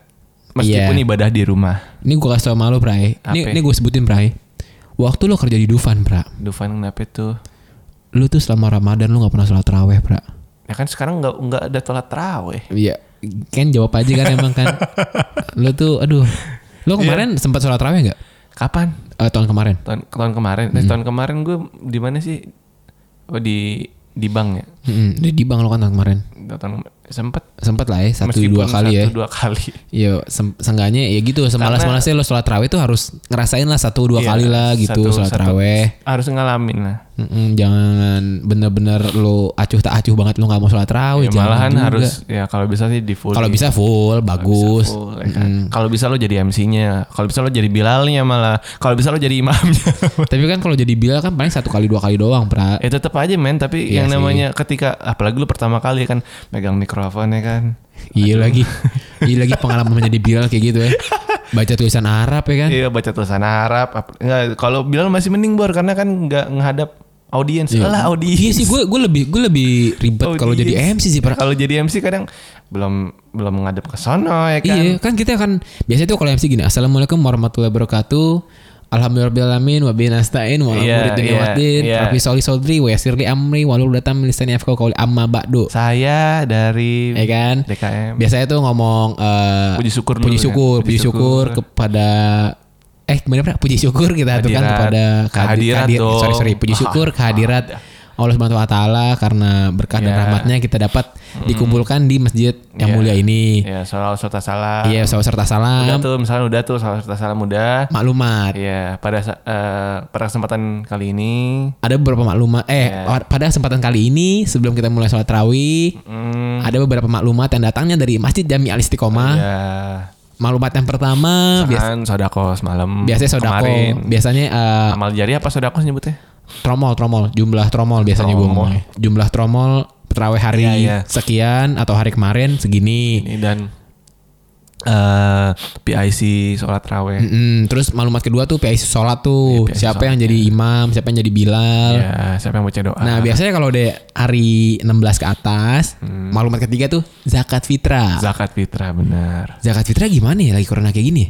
meskipun Iya. ibadah di rumah Ini gue kasih tau sama lo, Pray. Ini, Apa? ini gue sebutin, Pray. Waktu lo kerja di Dufan, Pra. Dufan kenapa tuh Lu tuh selama Ramadan lu gak pernah sholat raweh, Pra. ya kan sekarang nggak nggak ada telat terawih Iya. Kan jawab aja kan emang kan. Lu tuh, aduh. Iya. Lu kemarin sempat sholat raweh gak? kapan Eh, tahun kemarin. tahun tahun kemarin Hmm. Eh, tahun kemarin gue di mana sih oh di di bank ya Mm-mm. Di Bang lo kan tahun kemarin. tahun sempet Sempat lah ya, satu meskipun dua kali ya. satu dua kali Iya, sem- seenggaknya ya gitu. Semalas-malasnya lo sholat raweh tuh harus ngerasain lah satu dua Iya, kali lah gitu satu- sholat satu- raweh. harus ngalamin lah Mm-mm, jangan bener-bener lo acuh tak acuh banget lo nggak mau sholat raweh. Ya, Oh, jangan malahan juga. harus ya kalau bisa sih di full ya. Kalau bisa full, bagus. full, ya kan? kalau bisa lo jadi MC-nya kalau bisa lo jadi Bilalnya malah kalau bisa lo jadi imamnya Tapi kan kalau jadi Bilal kan paling satu kali dua kali doang, pra. Ya tetap aja men, tapi Iya yang sih. namanya ketika apalagi lu pertama kali kan megang mikrofon ya kan. Iya lagi, iya lagi pengalaman menjadi Bilal kayak gitu ya. Baca tulisan Arab ya kan. Iya baca tulisan Arab. ap- Enggak, kalau Bilal masih mending bor karena kan nggak menghadap audiens. Lah Iya audiens. sih, gue gue lebih gue lebih ribet kalau Audiens. jadi MC sih, pra. Kalau jadi MC kadang belum belum menghadap ke sono ya kan. Iya kan kita akan biasanya tuh kalau MC gini Assalamualaikum warahmatullahi wabarakatuh Alhamdulillahirrahmanirrahim wa bihi nasta'in wa Iya, yeah, muridin iya, watin iya. Rabbi soli sodri wa yasirli amri walul datam lisani afqa qawli amma ba'du Saya dari Ya kan DKM. Biasanya tuh ngomong eh, Iya. Puji syukur dulu Puji kan? syukur Puji Puji syukur syukur. kepada Eh gimana Pra? Puji syukur kita aturkan Hadirat. kepada Kehadirat kehadirat dong. Sorry sorry Puji syukur kehadirat Allah Subhanahu wa taala karena berkah dan Iya. rahmatnya kita dapat dikumpulkan di masjid yang Iya. mulia ini. Ya soal serta salam. Iya, salam serta Udah salam. tuh misalnya udah tuh soal serta salam udah. maklumat. Iya pada sa- eh, pada kesempatan kali ini. Ada beberapa maklumat eh Iya. pada kesempatan kali ini sebelum kita mulai sholat tarawih Hmm, ada beberapa maklumat yang datangnya dari Masjid Jami Al Istiqomah. ya. Maklumat yang pertama bias- Kan sodako semalam. biasanya Eh, sodako, Kemarin. biasanya eh, Amal jariah apa sodako nyebutnya? tromol tromol, jumlah tromol biasanya gue Tromol. ngomongnya. Jumlah tromol terawih hari Iya, iya. sekian atau hari kemarin segini. Ini dan eh PIC sholat raweh. Mm-mm. terus maklumat kedua tuh PIC sholat tuh Iya, PIC siapa yang jadi imam, siapa yang jadi bilal. Ya, siapa yang baca doa? Hmm, eh. Nah biasanya kalau udah hari 16 ke atas Hmm. Maklumat ketiga tuh Zakat fitrah Zakat fitrah benar. Zakat fitrah gimana ya lagi corona kayak gini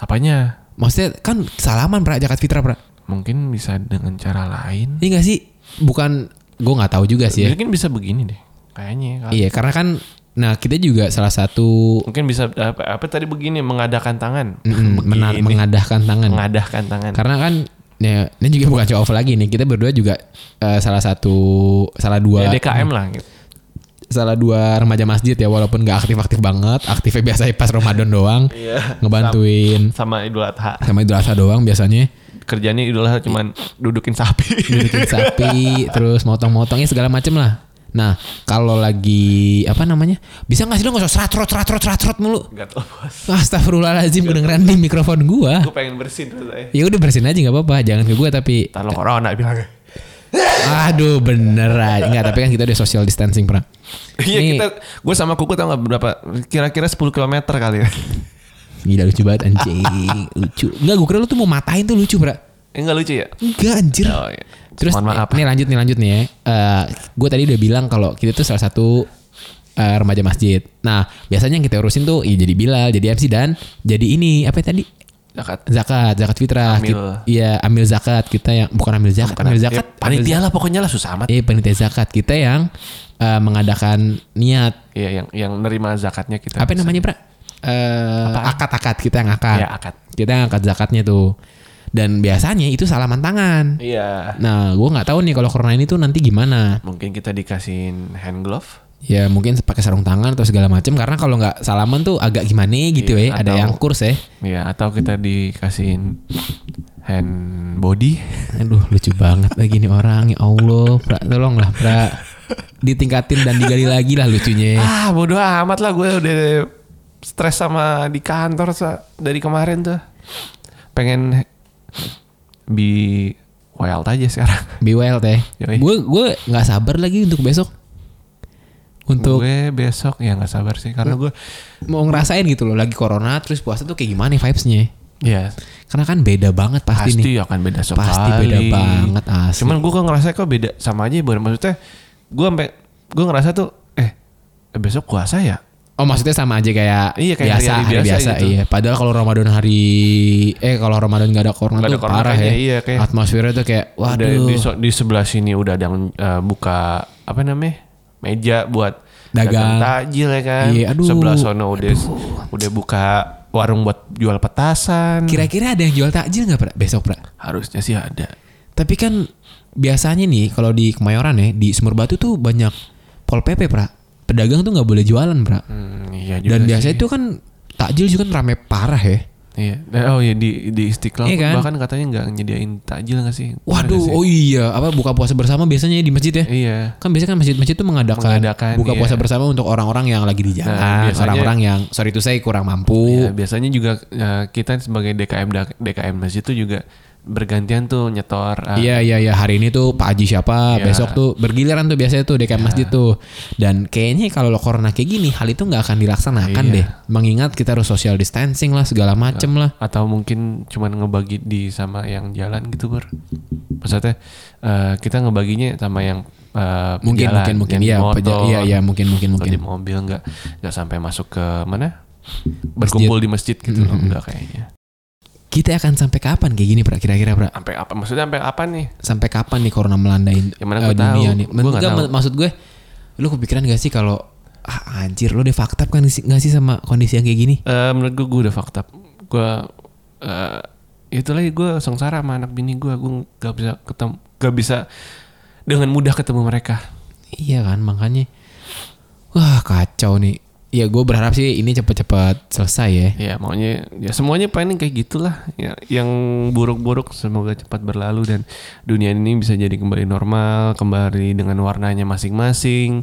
Apanya? Maksudnya kan salaman pra Zakat fitrah pra Mungkin bisa dengan cara lain. Ini gak sih Bukan Gue gak tahu juga sih ya Mungkin bisa begini deh. Kayaknya. Kak. Iya karena kan Nah kita juga salah satu Mungkin bisa apa, apa tadi begini mengadakan tangan. mm, mena- Begini. Mengadahkan tangan mengadahkan tangan. Karena kan ya, Ini juga bukan show off lagi nih Kita berdua juga eh, Salah satu Salah dua Ya, DKM lah gitu. Salah dua remaja masjid ya Walaupun gak aktif-aktif banget Aktifnya biasanya pas Ramadan doang Ngebantuin Sama Idul Adha. sama Idul Adha doang biasanya Kerjanya Idul Adha cuman dudukin sapi. bikin sapi terus motong-motongnya segala macem lah nah kalau lagi apa namanya bisa nggak sih lo nggak usah serat rot serat rot serat rot mulu Gak tau bos. Astagfirullahaladzim kedengeran di mikrofon gua Gue pengen bersin rasanya. ya udah bersihin aja nggak apa-apa jangan ke gua tapi Ntar lo corona bilangnya. aduh bener aja nggak tapi kan kita udah social distancing pernah Iya kita, gue sama kuku tau gak berapa, kira-kira 10 km kali ya. gila lucu banget anjing lucu nggak gua kira lu tuh mau matain tuh lucu pra Enggak lucu ya? Enggak anjir Oh, iya. Terus Mohon maaf. nih lanjut nih lanjut nih ya. gue tadi udah bilang kalau kita tuh salah satu eh, remaja masjid. Nah biasanya yang kita urusin tuh ya jadi Bilal, jadi MC dan jadi ini apa ya tadi Zakat. zakat, zakat fitrah. Amil. Kit- Iya ambil zakat kita yang bukan ambil zakat, ambil zakat. Ya, panitia lah pokoknya lah susah amat. Eh panitia zakat kita yang eh, mengadakan niat Iya yang yang nerima zakatnya kita. apa namanya pra? Eh, akad-akad kita yang akad. Ya akad. Kita yang akad zakatnya tuh. dan biasanya itu salaman tangan Iya. nah gue nggak tahu nih kalau corona ini tuh nanti gimana Mungkin kita dikasihin hand glove. ya mungkin pakai sarung tangan atau segala macam karena kalau nggak salaman tuh agak gimana gitu Iya, ya ada atau- yang kurs ya Iya, atau kita dikasihin hand body. aduh lucu banget lagi nih orang ya allah pra tolonglah pra ditingkatin dan digali lagi lah lucunya Ah, bodoh amat lah gue udah stres sama di kantor sa- dari kemarin tuh. Pengen be wild aja sekarang. Be wild ya. Yoi. Gue gue nggak sabar lagi untuk besok. Untuk Gue besok ya nggak sabar sih karena gue mau ngerasain gitu loh lagi corona terus puasa tuh kayak gimana vibesnya? ya Karena kan beda banget pasti, pasti, nih. akan beda sekali. Pasti beda banget asli. Cuman gue kok ngerasa kok beda sama aja baru maksudnya gue sampai gue ngerasa tuh eh besok puasa ya Oh maksudnya sama aja kayak, Iya, kayak biasa hari-hari hari biasa, biasa gitu. iya. Padahal kalau Ramadan hari eh kalau Ramadan gak ada corona Nggak ada tuh corona parah ya. kayaknya, iya, kayak- Atmosfernya tuh kayak Udah waduh di, so- di sebelah sini udah ada yang eh, buka apa namanya meja buat Dagang. takjil ya kan. Iya, aduh. Sebelah sono udah udah buka warung buat jual petasan. kira-kira ada yang jual takjil nggak pra besok pra? Harusnya sih ada. Tapi kan biasanya nih kalau di Kemayoran ya di Sumur Batu tuh banyak pol pp pra. Pedagang tuh nggak boleh jualan pra. Hmm, iya juga Dan biasanya sih. itu kan takjil juga kan rame parah ya. Iya. Dan- Oh iya di di Istiqlal Iya kan? bahkan katanya nggak nyediain takjil nggak sih? Bener Waduh, nggak sih? oh iya, apa buka puasa bersama biasanya di masjid ya? Iya. Kan biasanya kan masjid-masjid itu mengadakan, Mengadakan, buka iya. puasa bersama untuk orang-orang yang lagi di jalan, Nah, biasanya- orang-orang yang sorry itu saya kurang Iya, mampu. biasanya juga eh, kita sebagai DKM da- DKM masjid itu juga bergantian tuh nyetor eh, Iya iya iya hari ini tuh Pak Haji siapa Iya. besok tuh bergiliran tuh biasanya tuh DKM masjid tuh dan kayaknya kalau corona kayak gini hal itu nggak akan dilaksanakan Iya. deh mengingat kita harus social distancing lah segala macem lah atau mungkin cuman ngebagi di sama yang jalan gitu ber maksudnya eh, kita ngebaginya sama yang eh, Iya. mungkin pejalan, mungkin mungkin yang di ya motor, peja- iya iya mungkin mungkin atau mungkin di mobil nggak nggak sampai masuk ke mana berkumpul di masjid gitu loh nggak kayaknya kita akan sampai kapan kayak gini pra kira-kira pra sampai apa maksudnya sampai apa nih sampai kapan nih corona melanda in- Ya mana gua eh, dunia tahu. nih? Gua nggak Enggak, tahu. ma- maksud gue, lu kepikiran gak sih kalau ah, anjir lu defaktab kan sih- gak sih sama kondisi yang kayak gini? Eh, menurut gue gue udah fucked up gue eh, itu lagi gue sengsara sama anak bini gue gue nggak bisa ketemu nggak bisa dengan mudah ketemu mereka Iya kan, makanya wah kacau nih. Ya gue berharap sih ini cepet-cepet selesai ya. Ya maunya ya semuanya pengen kayak gitulah. Ya, yang buruk-buruk semoga cepat berlalu dan dunia ini bisa jadi kembali normal, kembali dengan warnanya masing-masing,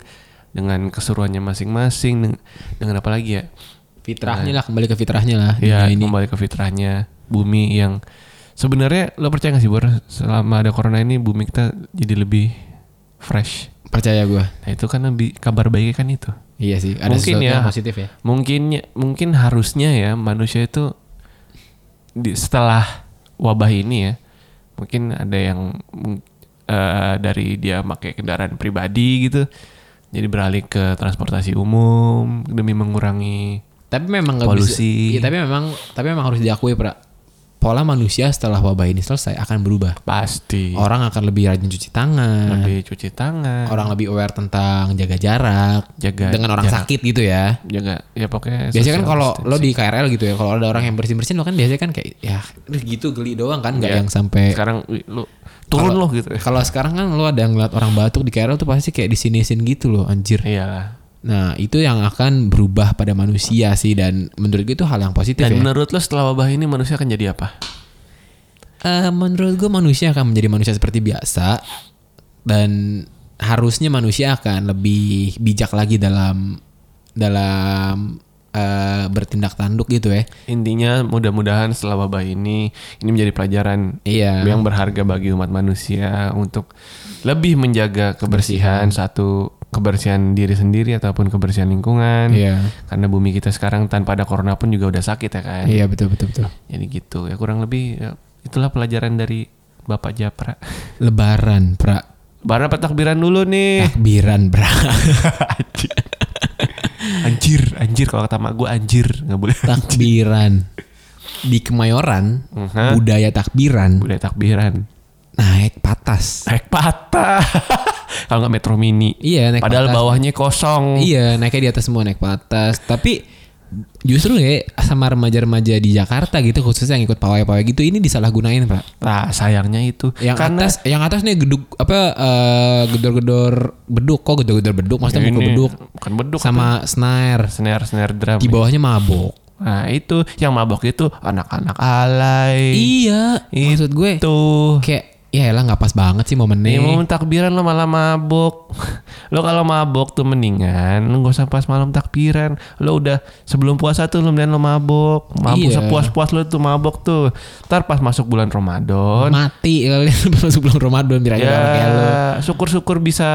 dengan keseruannya masing-masing, deng- dengan apa lagi ya? Nah. Fitrahnya lah, kembali ke fitrahnya lah. Ya dunia ini. kembali ke fitrahnya bumi yang sebenarnya lo percaya gak sih Bor selama ada corona ini bumi kita jadi lebih fresh. Percaya gue. Nah itu kan lebih kabar baiknya kan itu. Iya sih, ada Mungkin sesuatu ya. yang positif ya. mungkin mungkin harusnya ya manusia itu di, setelah wabah ini ya mungkin ada yang mung- eh, dari dia pakai kendaraan pribadi gitu jadi beralih ke transportasi umum demi mengurangi Tapi memang nggak bisa. Polusi. Iya, tapi memang tapi memang harus diakui pra pola manusia setelah wabah ini selesai akan berubah. pasti Orang akan lebih rajin cuci tangan. lebih cuci tangan orang lebih aware tentang jaga jarak Jaga dengan orang jarak. sakit gitu ya. jaga ya pokoknya Biasanya kan social kalau distance. lo di KRL gitu ya, kalau ada orang yang bersin-bersin lo kan biasanya kan kayak ya "Aduh, gitu geli doang kan nggak Iya. yang sampai sekarang wih, lo turun Kalau- lo gitu kalau sekarang kan lo ada yang ngeliat orang batuk di KRL tuh pasti kayak disinisin gitu loh anjir. iya Nah, itu yang akan berubah pada manusia sih dan menurut gue itu hal yang positif ya. dan menurut lo setelah wabah ini manusia akan jadi apa Eh, menurut gue manusia akan menjadi manusia seperti biasa dan harusnya manusia akan lebih bijak lagi dalam dalam eh, bertindak tanduk gitu ya. Intinya mudah-mudahan setelah wabah ini ini menjadi pelajaran Iya. yang berharga bagi umat manusia untuk lebih menjaga kebersihan satu kebersihan diri sendiri ataupun kebersihan lingkungan. Iya. Karena bumi kita sekarang tanpa ada corona pun juga udah sakit ya kan. Iya betul betul betul. Jadi gitu. Ya kurang lebih ya, itulah pelajaran dari Bapak Japra. Lebaran, pra Barang apa takbiran dulu Eh. nih. takbiran, pra anjir. anjir, anjir kalau kata mak gue anjir, nggak boleh. takbiran di Kemayoran Mhm. budaya takbiran Boleh takbiran. naik patas. Naik patah. Kalau nggak metro mini. Iya naik Iya. Padahal patas. bawahnya kosong. Iya naiknya di atas semua naik patas. Tapi justru ya sama remaja-remaja di Jakarta gitu khususnya yang ikut pawai-pawai gitu ini disalahgunain pak Nah, sayangnya itu yang karena atas yang atas nih geduk apa eh, gedor-gedor beduk kok gedor-gedor beduk maksudnya mukul Ya ini beduk bukan beduk sama snare snare snare drum. di bawahnya mabok Nah, itu yang mabok itu anak-anak alay. iya maksud gue Itu. kayak ya elah nggak pas banget sih Nih momennya mau takbiran lo malah mabok. Lo kalau mabok tuh mendingan lo gak usah pas malam takbiran. Lo udah sebelum puasa tuh lo mendingan lo mabok. Mabuk Iya. sepuas-puas lo tuh mabok tuh. Ntar pas masuk bulan Ramadan. mati kalian sebelum Ramadan biar aja orang kayak lu. ya syukur-syukur bisa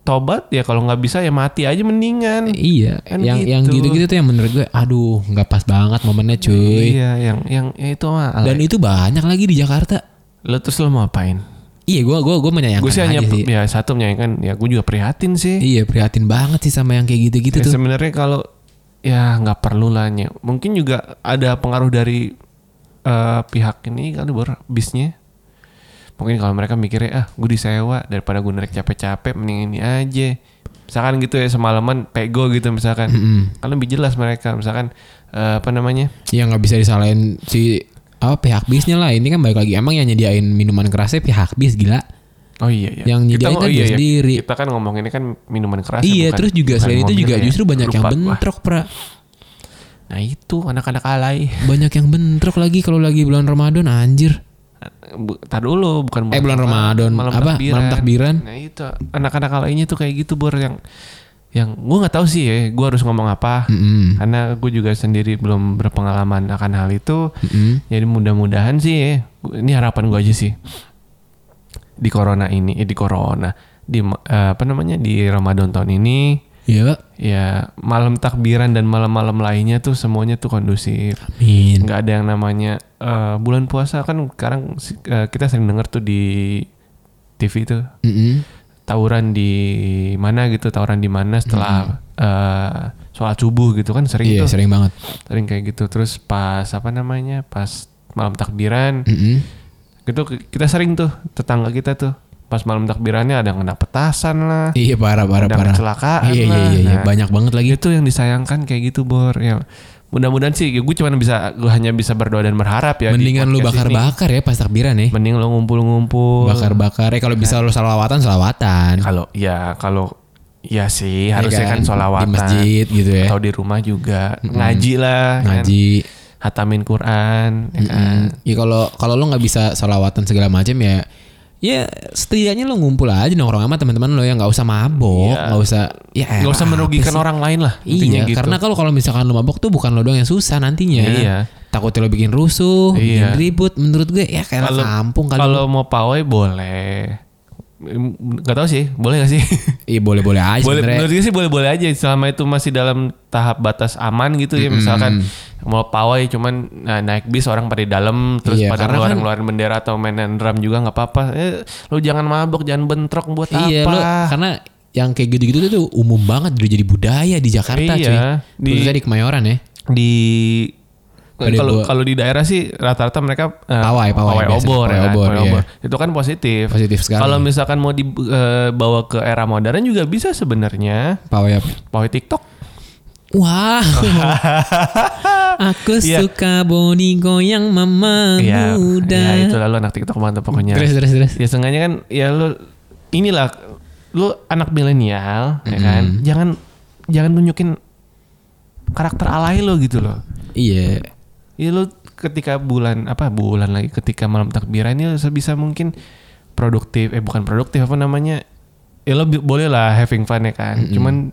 tobat ya kalau nggak bisa ya mati aja mendingan. Iya, Kan yang yang gitu. gitu-gitu tuh yang menurut gue, aduh, nggak pas banget momennya cuy. Iya yang yang ya itu mah. alay. Dan itu banyak lagi di Jakarta. Lo terus lo mau apain? Iya, gue gua gua menyayangkan Gue sih aja hanya sih. ya satu menyayangkan ya gue juga prihatin sih. Iya, prihatin banget sih sama yang kayak gitu-gitu Ya, tuh. sebenarnya kalau ya nggak perlu lah Nye. Mungkin juga ada pengaruh dari eh, pihak ini kali baru bisnya. Mungkin kalau mereka mikirnya ah gue disewa daripada gue narik capek-capek mending ini aja. Misalkan gitu ya semalaman pego gitu misalkan. Kan lebih jelas mereka misalkan eh, apa namanya? Ya nggak bisa disalahin si apa pihak bisnya lah. Ini kan balik lagi emang yang nyediain minuman kerasnya pihak bis gila. Oh iya iya. Yang nyediain ngom- kan dia sendiri. Kita kan ngomong ini kan minuman keras. iya, bukan- terus juga bukan selain itu mobil juga ya. justru banyak yang Lupa gua. bentrok, Pra. Nah itu anak-anak alay. Banyak yang bentrok lagi kalau lagi bulan Ramadan anjir. Bu- Tar dulu bukan Eh, bulan Ramadan. Apa? Malam takbiran. Nah itu anak-anak lainnya tuh kayak gitu bor yang yang gue nggak tahu sih ya gue harus ngomong apa Mm-mm. karena gue juga sendiri belum berpengalaman akan hal itu Mm-mm. jadi mudah-mudahan sih ya gua- ini harapan gue aja sih di corona ini eh, di corona di ma- eh, apa namanya di Ramadan tahun ini Iya, Pak. ya malam takbiran dan malam-malam lainnya tuh semuanya tuh kondusif Amin. nggak ada yang namanya eh, bulan puasa kan sekarang si- eh, kita sering dengar tuh di TV itu Mm-mm. tawuran di mana gitu tawuran di mana setelah eh, sholat subuh gitu kan sering Hmm. Iya, tuh sering banget. sering kayak gitu terus pas apa namanya pas malam takbiran Mm-mm. gitu ki- kita sering tuh tetangga kita tuh pas malam takbirannya ada yang kena petasan lah Iya, parah parah ada yang parah. kecelakaan Iya, iya, lah. iya, iya. Nah, banyak banget lagi. itu yang disayangkan kayak gitu bor ya mudah-mudahan sih gue cuma bisa gue hanya bisa berdoa dan berharap ya di Mendingan lu podcast ini. bakar-bakar ya pas takbiran ya. mending lo ngumpul-ngumpul Bakar-bakar. Eh kalau bisa lu salawatan, salawatan. kalau ya kalau ya sih Ya harusnya kan, solawatan Di masjid gitu ya. atau di rumah juga ngaji lah kan. Ngaji. hatamin Quran ya kan. Mm. Ya kalau kalau lu nggak bisa salawatan segala macam ya ya setidaknya lu ngumpul aja nongkrong sama teman-teman lo yang nggak usah mabok, Iya. nggak usah ya nggak usah elah, merugikan orang lain lah intinya Iya, gitu karena ya, kalau kalau misalkan lu mabok tuh bukan lo doang yang susah nantinya. Iya. Takutnya lo bikin rusuh, Iya. bikin ribut. Menurut gue ya kayak Kalau- kampung kali. kalau mau pawai boleh Gak tau sih boleh gak sih Iya boleh-boleh aja boleh sebenarnya. menurut gue sih boleh-boleh aja selama itu masih dalam tahap batas aman gitu ya misalkan mau pawai cuman nah, naik bis orang pada di dalam terus Iya, pada karena ngeluarin kan- ngeluarin bendera atau mainan drum juga nggak apa-apa eh, lu jangan mabok jangan bentrok buat Iya, apa lo karena yang kayak gitu-gitu tuh, tuh umum banget udah jadi budaya di Jakarta Iya, cuy. di- Khususnya di Kemayoran ya. di Pada kalau gua- kalau di daerah sih rata-rata mereka eh, Pawai, pawai biasanya, obor pawai ya kan, obor, pawai iya. obor. itu kan positif Positif sekali. kalau misalkan mau dibawa ke era modern juga bisa sebenarnya Pawai apa? pawai TikTok Wah. Aku Iya. suka boniko yang mama ya, muda. ya itu lalu anak TikTok banget pokoknya Terus terus terus. ya seenggaknya kan ya lu inilah lu anak milenial ya kan jangan jangan tunjukin karakter alay lo gitu loh Iya. ya lu ketika bulan apa bulan lagi ketika malam takbiran ya sebisa mungkin produktif eh bukan produktif apa namanya ya lo bi- boleh lah having fun ya kan cuman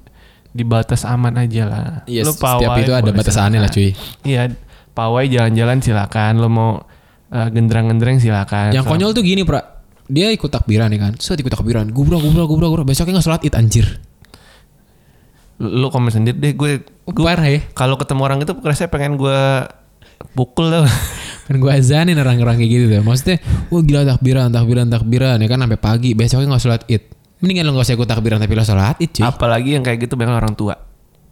di batas aman aja lah Iya, Lu setiap itu ada boleh batasannya lah, silakan. iya pawai jalan-jalan silakan lo mau eh, genderang-genderang silakan Yang Selama- konyol tuh gini, Pra. Dia ikut takbiran ya kan. Set ikut takbiran. Gubrak gubrak gubrak gubrak. Besoknya enggak sholat Id anjir. lu komen sendiri deh gue Parah ya. kalau ketemu orang itu rasanya pengen gue pukul tuh Kan gue azanin orang-orang kayak gitu tuh. Maksudnya, wah gila takbiran, takbiran, takbiran. Ya kan sampai pagi, besoknya gak sholat id. Mendingan lo gak usah ikut takbiran tapi lo sholat id cuy. apalagi yang kayak gitu banyak orang tua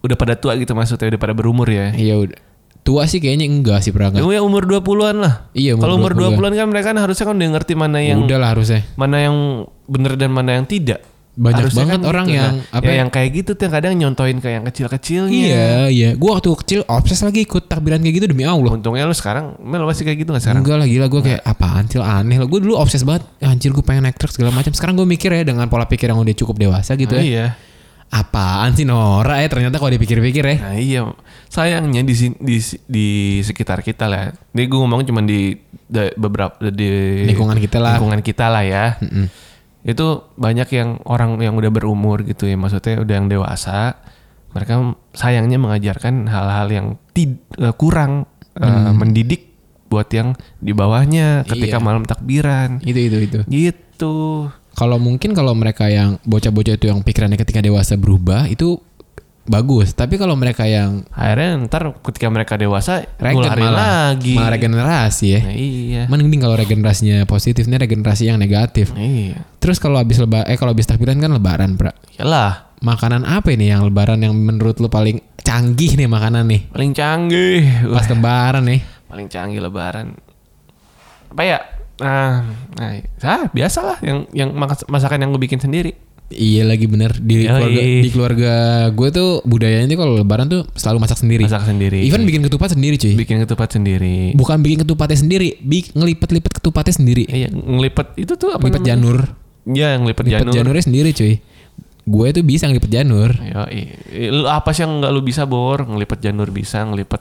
udah pada tua gitu maksudnya udah pada berumur ya Iya udah. Tua sih kayaknya enggak sih Pra. enggak. Ya, umur 20-an lah. Iya, umur Kalau umur 20-an. 20-an kan mereka kan harusnya kan udah ngerti mana yang Udah lah harusnya. mana yang bener dan mana yang tidak. banyak Harusnya banget kan orang gitu. yang Nah, apa ya, yang kayak gitu tuh yang kadang nyontoin ke yang kecil-kecilnya. Iya, iya. Gua waktu kecil obses lagi ikut takbiran kayak gitu demi Allah. Untungnya lu sekarang, Mel lu masih kayak gitu gak sekarang? Enggak lah gila gue kayak apaan sih lo aneh lo. Gue dulu obses banget. "Eh, Anjir gue pengen naik truk segala macam. Sekarang gue mikir ya dengan pola pikir yang udah cukup dewasa gitu Nah, ya. Iya. Apaan sih Nora ya ternyata kalau dipikir-pikir ya. Nah iya, sayangnya di sin- di, di sekitar kita lah. Ini gue ngomong cuma di, da- beberapa di Lingkungan kita lah. Iya. Hmm. lingkungan kita lah ya. Itu banyak yang orang yang udah berumur gitu ya, maksudnya udah yang dewasa. Mereka sayangnya mengajarkan hal-hal yang tid- eh, kurang eh, mendidik buat yang di bawahnya ketika Hmm. Iya. malam takbiran. Itu itu itu. Gitu. Kalau mungkin kalau mereka yang bocah-bocah itu yang pikirannya ketika dewasa berubah itu bagus. Tapi kalau mereka yang Akhirnya ntar ketika mereka dewasa regen nularin malah, lagi. malah regenerasi ya. Nah, iya. Mending kalau regenerasinya positif nih regenerasi yang negatif. Nah, iya. Terus kalau habis leba eh kalau habis takbiran kan lebaran, Pra. Yalah. Makanan apa ini yang lebaran yang menurut lu paling canggih nih makanan nih? Paling canggih. Wah, Pas lebaran nih. paling canggih lebaran. Apa ya? Nah, nah, ah, biasalah yang yang makas- masakan yang gue bikin sendiri. Iya lagi bener di Yoi. keluarga di keluarga gue tuh budayanya tuh kalau lebaran tuh selalu masak sendiri. Masak sendiri. Even bikin ketupat sendiri cuy. bikin ketupat sendiri. Bukan bikin ketupatnya sendiri, bi- ngelipet-lipet ketupatnya sendiri. Iya, ngelipet itu tuh apa Ngelipet namanya? janur. Iya, ngelipet Lipet janur. janurnya sendiri cuy. Gue tuh bisa ngelipet janur. Yoi. Eh, lu apa sih yang nggak lu bisa, Bor? Ngelipet janur bisa, ngelipet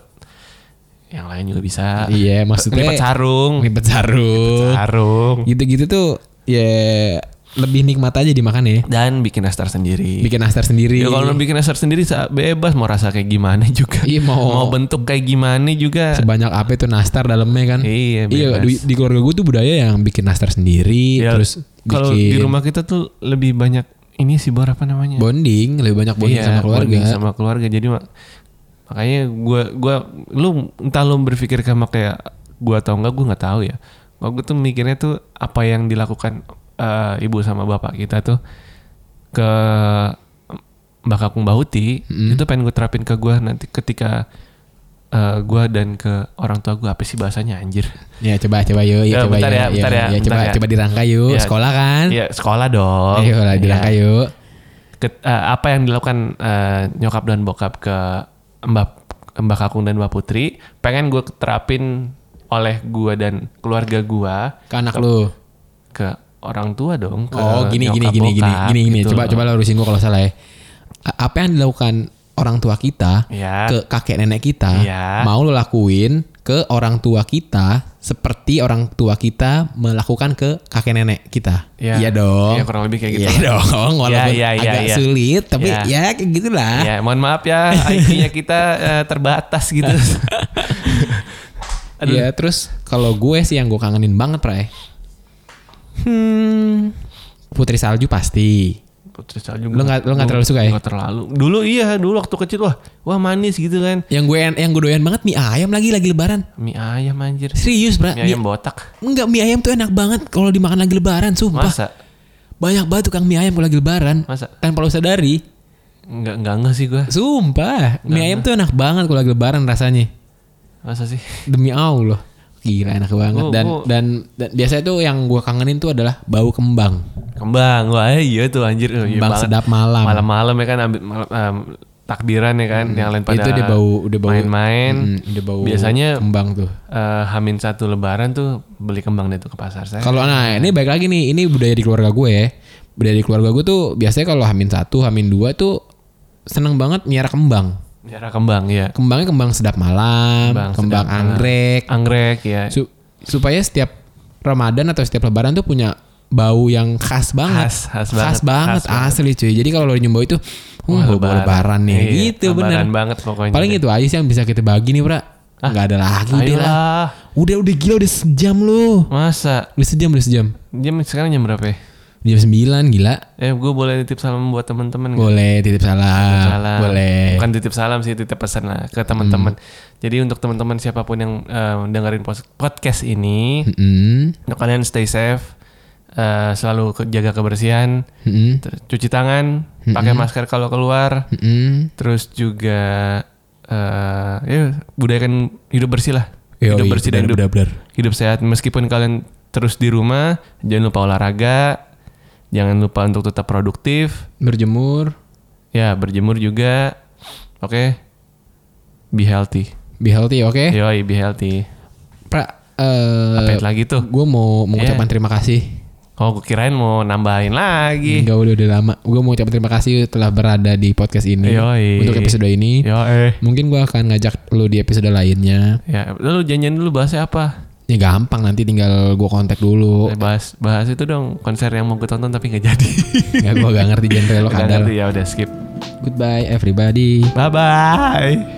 yang lain juga bisa. Iya, maksudnya- Ngelipet sarung. Ngelipet Iya. sarung. Sarung. Gitu-gitu tuh ya lebih nikmat aja dimakan ya. Dan bikin nastar sendiri. Bikin nastar sendiri. Iya. Ya kalau lu bikin nastar sendiri sa- bebas mau rasa kayak gimana juga. Iya, mau- mau bentuk kayak gimana juga. sebanyak apa itu nastar dalamnya kan Eh. Iya, iya di, bebas. di keluarga gue tuh budaya yang bikin nastar sendiri Ya, terus kalau bikin di rumah kita tuh lebih banyak ini sih bor apa namanya? bonding lebih banyak bonding Iya, sama keluarga bonding sama keluarga. Jadi mak- makanya gua gua lu entah lu berpikir sama kayak gua atau enggak gua nggak tahu ya. Gua gua tuh mikirnya tuh apa yang dilakukan eh, ibu sama bapak kita tuh ke Mbak Kakung Bahuti itu pengen gue terapin ke gua nanti ketika eh, gua dan ke orang tua gua apa sih bahasanya anjir ya coba coba yuk ya, Ya, coba bentar yuk, ya, bentar ya, coba bentar ya. coba dirangkai yuk Ya. sekolah kan Iya, ya sekolah dong ayo lah Ya. dirangkai yuk Ket- eh, apa yang dilakukan eh, nyokap dan bokap ke mbak mbak kakung dan mbak putri pengen gue terapin oleh gue dan keluarga gue ke anak lu ke orang tua dong ke oh gini gini nyokap gini gini bokap gini gini gitu coba loh. coba lurusin gue kalau salah ya A- apa yang dilakukan orang tua kita Iya. ke kakek nenek kita Iya. mau lu lakuin ke orang tua kita seperti orang tua kita melakukan ke kakek nenek kita Iya. iya dong Iya, kurang lebih kayak gitu iya lah. dong walaupun Iya, iya, iya, agak iya. sulit tapi Iya. ya kayak gitulah ya mohon maaf ya IQ-nya kita eh, terbatas gitu Iya terus kalau gue sih yang gue kangenin banget Pray hmm putri salju pasti Putri salju Lu nggak- lu nggak terlalu suka ya? Nggak terlalu. Dulu iya, dulu waktu kecil wah, wah manis gitu kan. yang gue yang gue doyan banget mie ayam lagi lagi lebaran Mie ayam anjir. serius Pray Mie ayam botak. Enggak mie ayam tuh enak banget kalau dimakan lagi lebaran sumpah. Masa? Banyak banget tukang mie ayam kalau lagi lebaran. Masa? Tanpa lo sadari. Enggak enggak enggak sih gua. Sumpah, mie ayam tuh enak banget kalau lagi lebaran rasanya. Masa sih? Demi Allah. Gila enak banget Gua- dan, gua- dan dan biasanya tuh yang gua kangenin tuh adalah bau kembang. Kembang, wah iya tuh anjir. Oh, iya Kembang banget. sedap malam. Malam-malam ya kan ambil malam, em, takbiran ya kan yang lain pada Hmm, Itu dia bau- udah bau- main-main. Mm, udah bau Biasanya kembang tuh. eh, Hamin satu lebaran tuh beli kembang deh tuh ke pasar saya. Kalau nah ini baik lagi nih, ini budaya di keluarga gue ya. Budaya di keluarga gue tuh biasanya kalau hamin satu, hamin dua tuh seneng banget miara kembang. Nyara kembang ya. Kembangnya kembang sedap malam, Kembang kembang, sedap malam. anggrek, Anggrek ya. Su- supaya setiap Ramadan atau setiap Lebaran tuh punya bau yang khas banget, Khas- khas banget, banget, khas banget. asli cuy. Jadi kalau lo nyium bau itu, hmm, Wah, bau lebaran, lebaran nih, Iya, gitu bener. lebaran banget Ah, pokoknya. Paling itu aja sih yang bisa kita bagi nih, Pra. Nggak ada lagi udah lah. Ayolah. Udah udah gila udah sejam lu. Masa Udah sejam, udah sejam. jam sekarang jam berapa ya? Jam 9 gila. Eh, gue boleh titip salam buat temen-temen nggak? Boleh titip salam. Salam. Ah, Boleh. Hmm. Bukan titip salam sih, titip pesan lah ke teman-teman. Jadi untuk teman-teman siapapun yang eh, dengerin pos- podcast Hmm. ini, Mm-mm. untuk kalian stay safe, eh, selalu ke- jaga kebersihan, Mm-mm. ter- cuci tangan, Hmm. pakai masker kalau keluar, Mm-mm. terus juga eh ya budayakan hidup bersih lah. Yoi, hidup bersih dan hidup bener-bener. hidup sehat meskipun kalian terus di rumah jangan lupa olahraga Jangan lupa untuk tetap produktif. Berjemur, Ya, berjemur juga. Oke. Be healthy. be healthy, oke? Yoi, be healthy. Pra, Iya. Apa eh lagi tuh? gue mau Eh. mengucapkan terima kasih. Oh, gue kirain mau nambahin lagi. Enggak udah udah lama. Gue mau ucapkan terima kasih telah berada di podcast ini Yoi. untuk episode ini. Yo, eh. Mungkin gue akan ngajak lu di episode lainnya. Ya, lu janjian dulu bahasnya apa? Ya gampang nanti tinggal gue kontak dulu. Eh, bahas bahas itu dong konser yang mau gue tonton tapi nggak jadi. Enggak gue gak ngerti genre lo Nggak kadal. ngerti, ya udah skip. Goodbye everybody. Bye bye.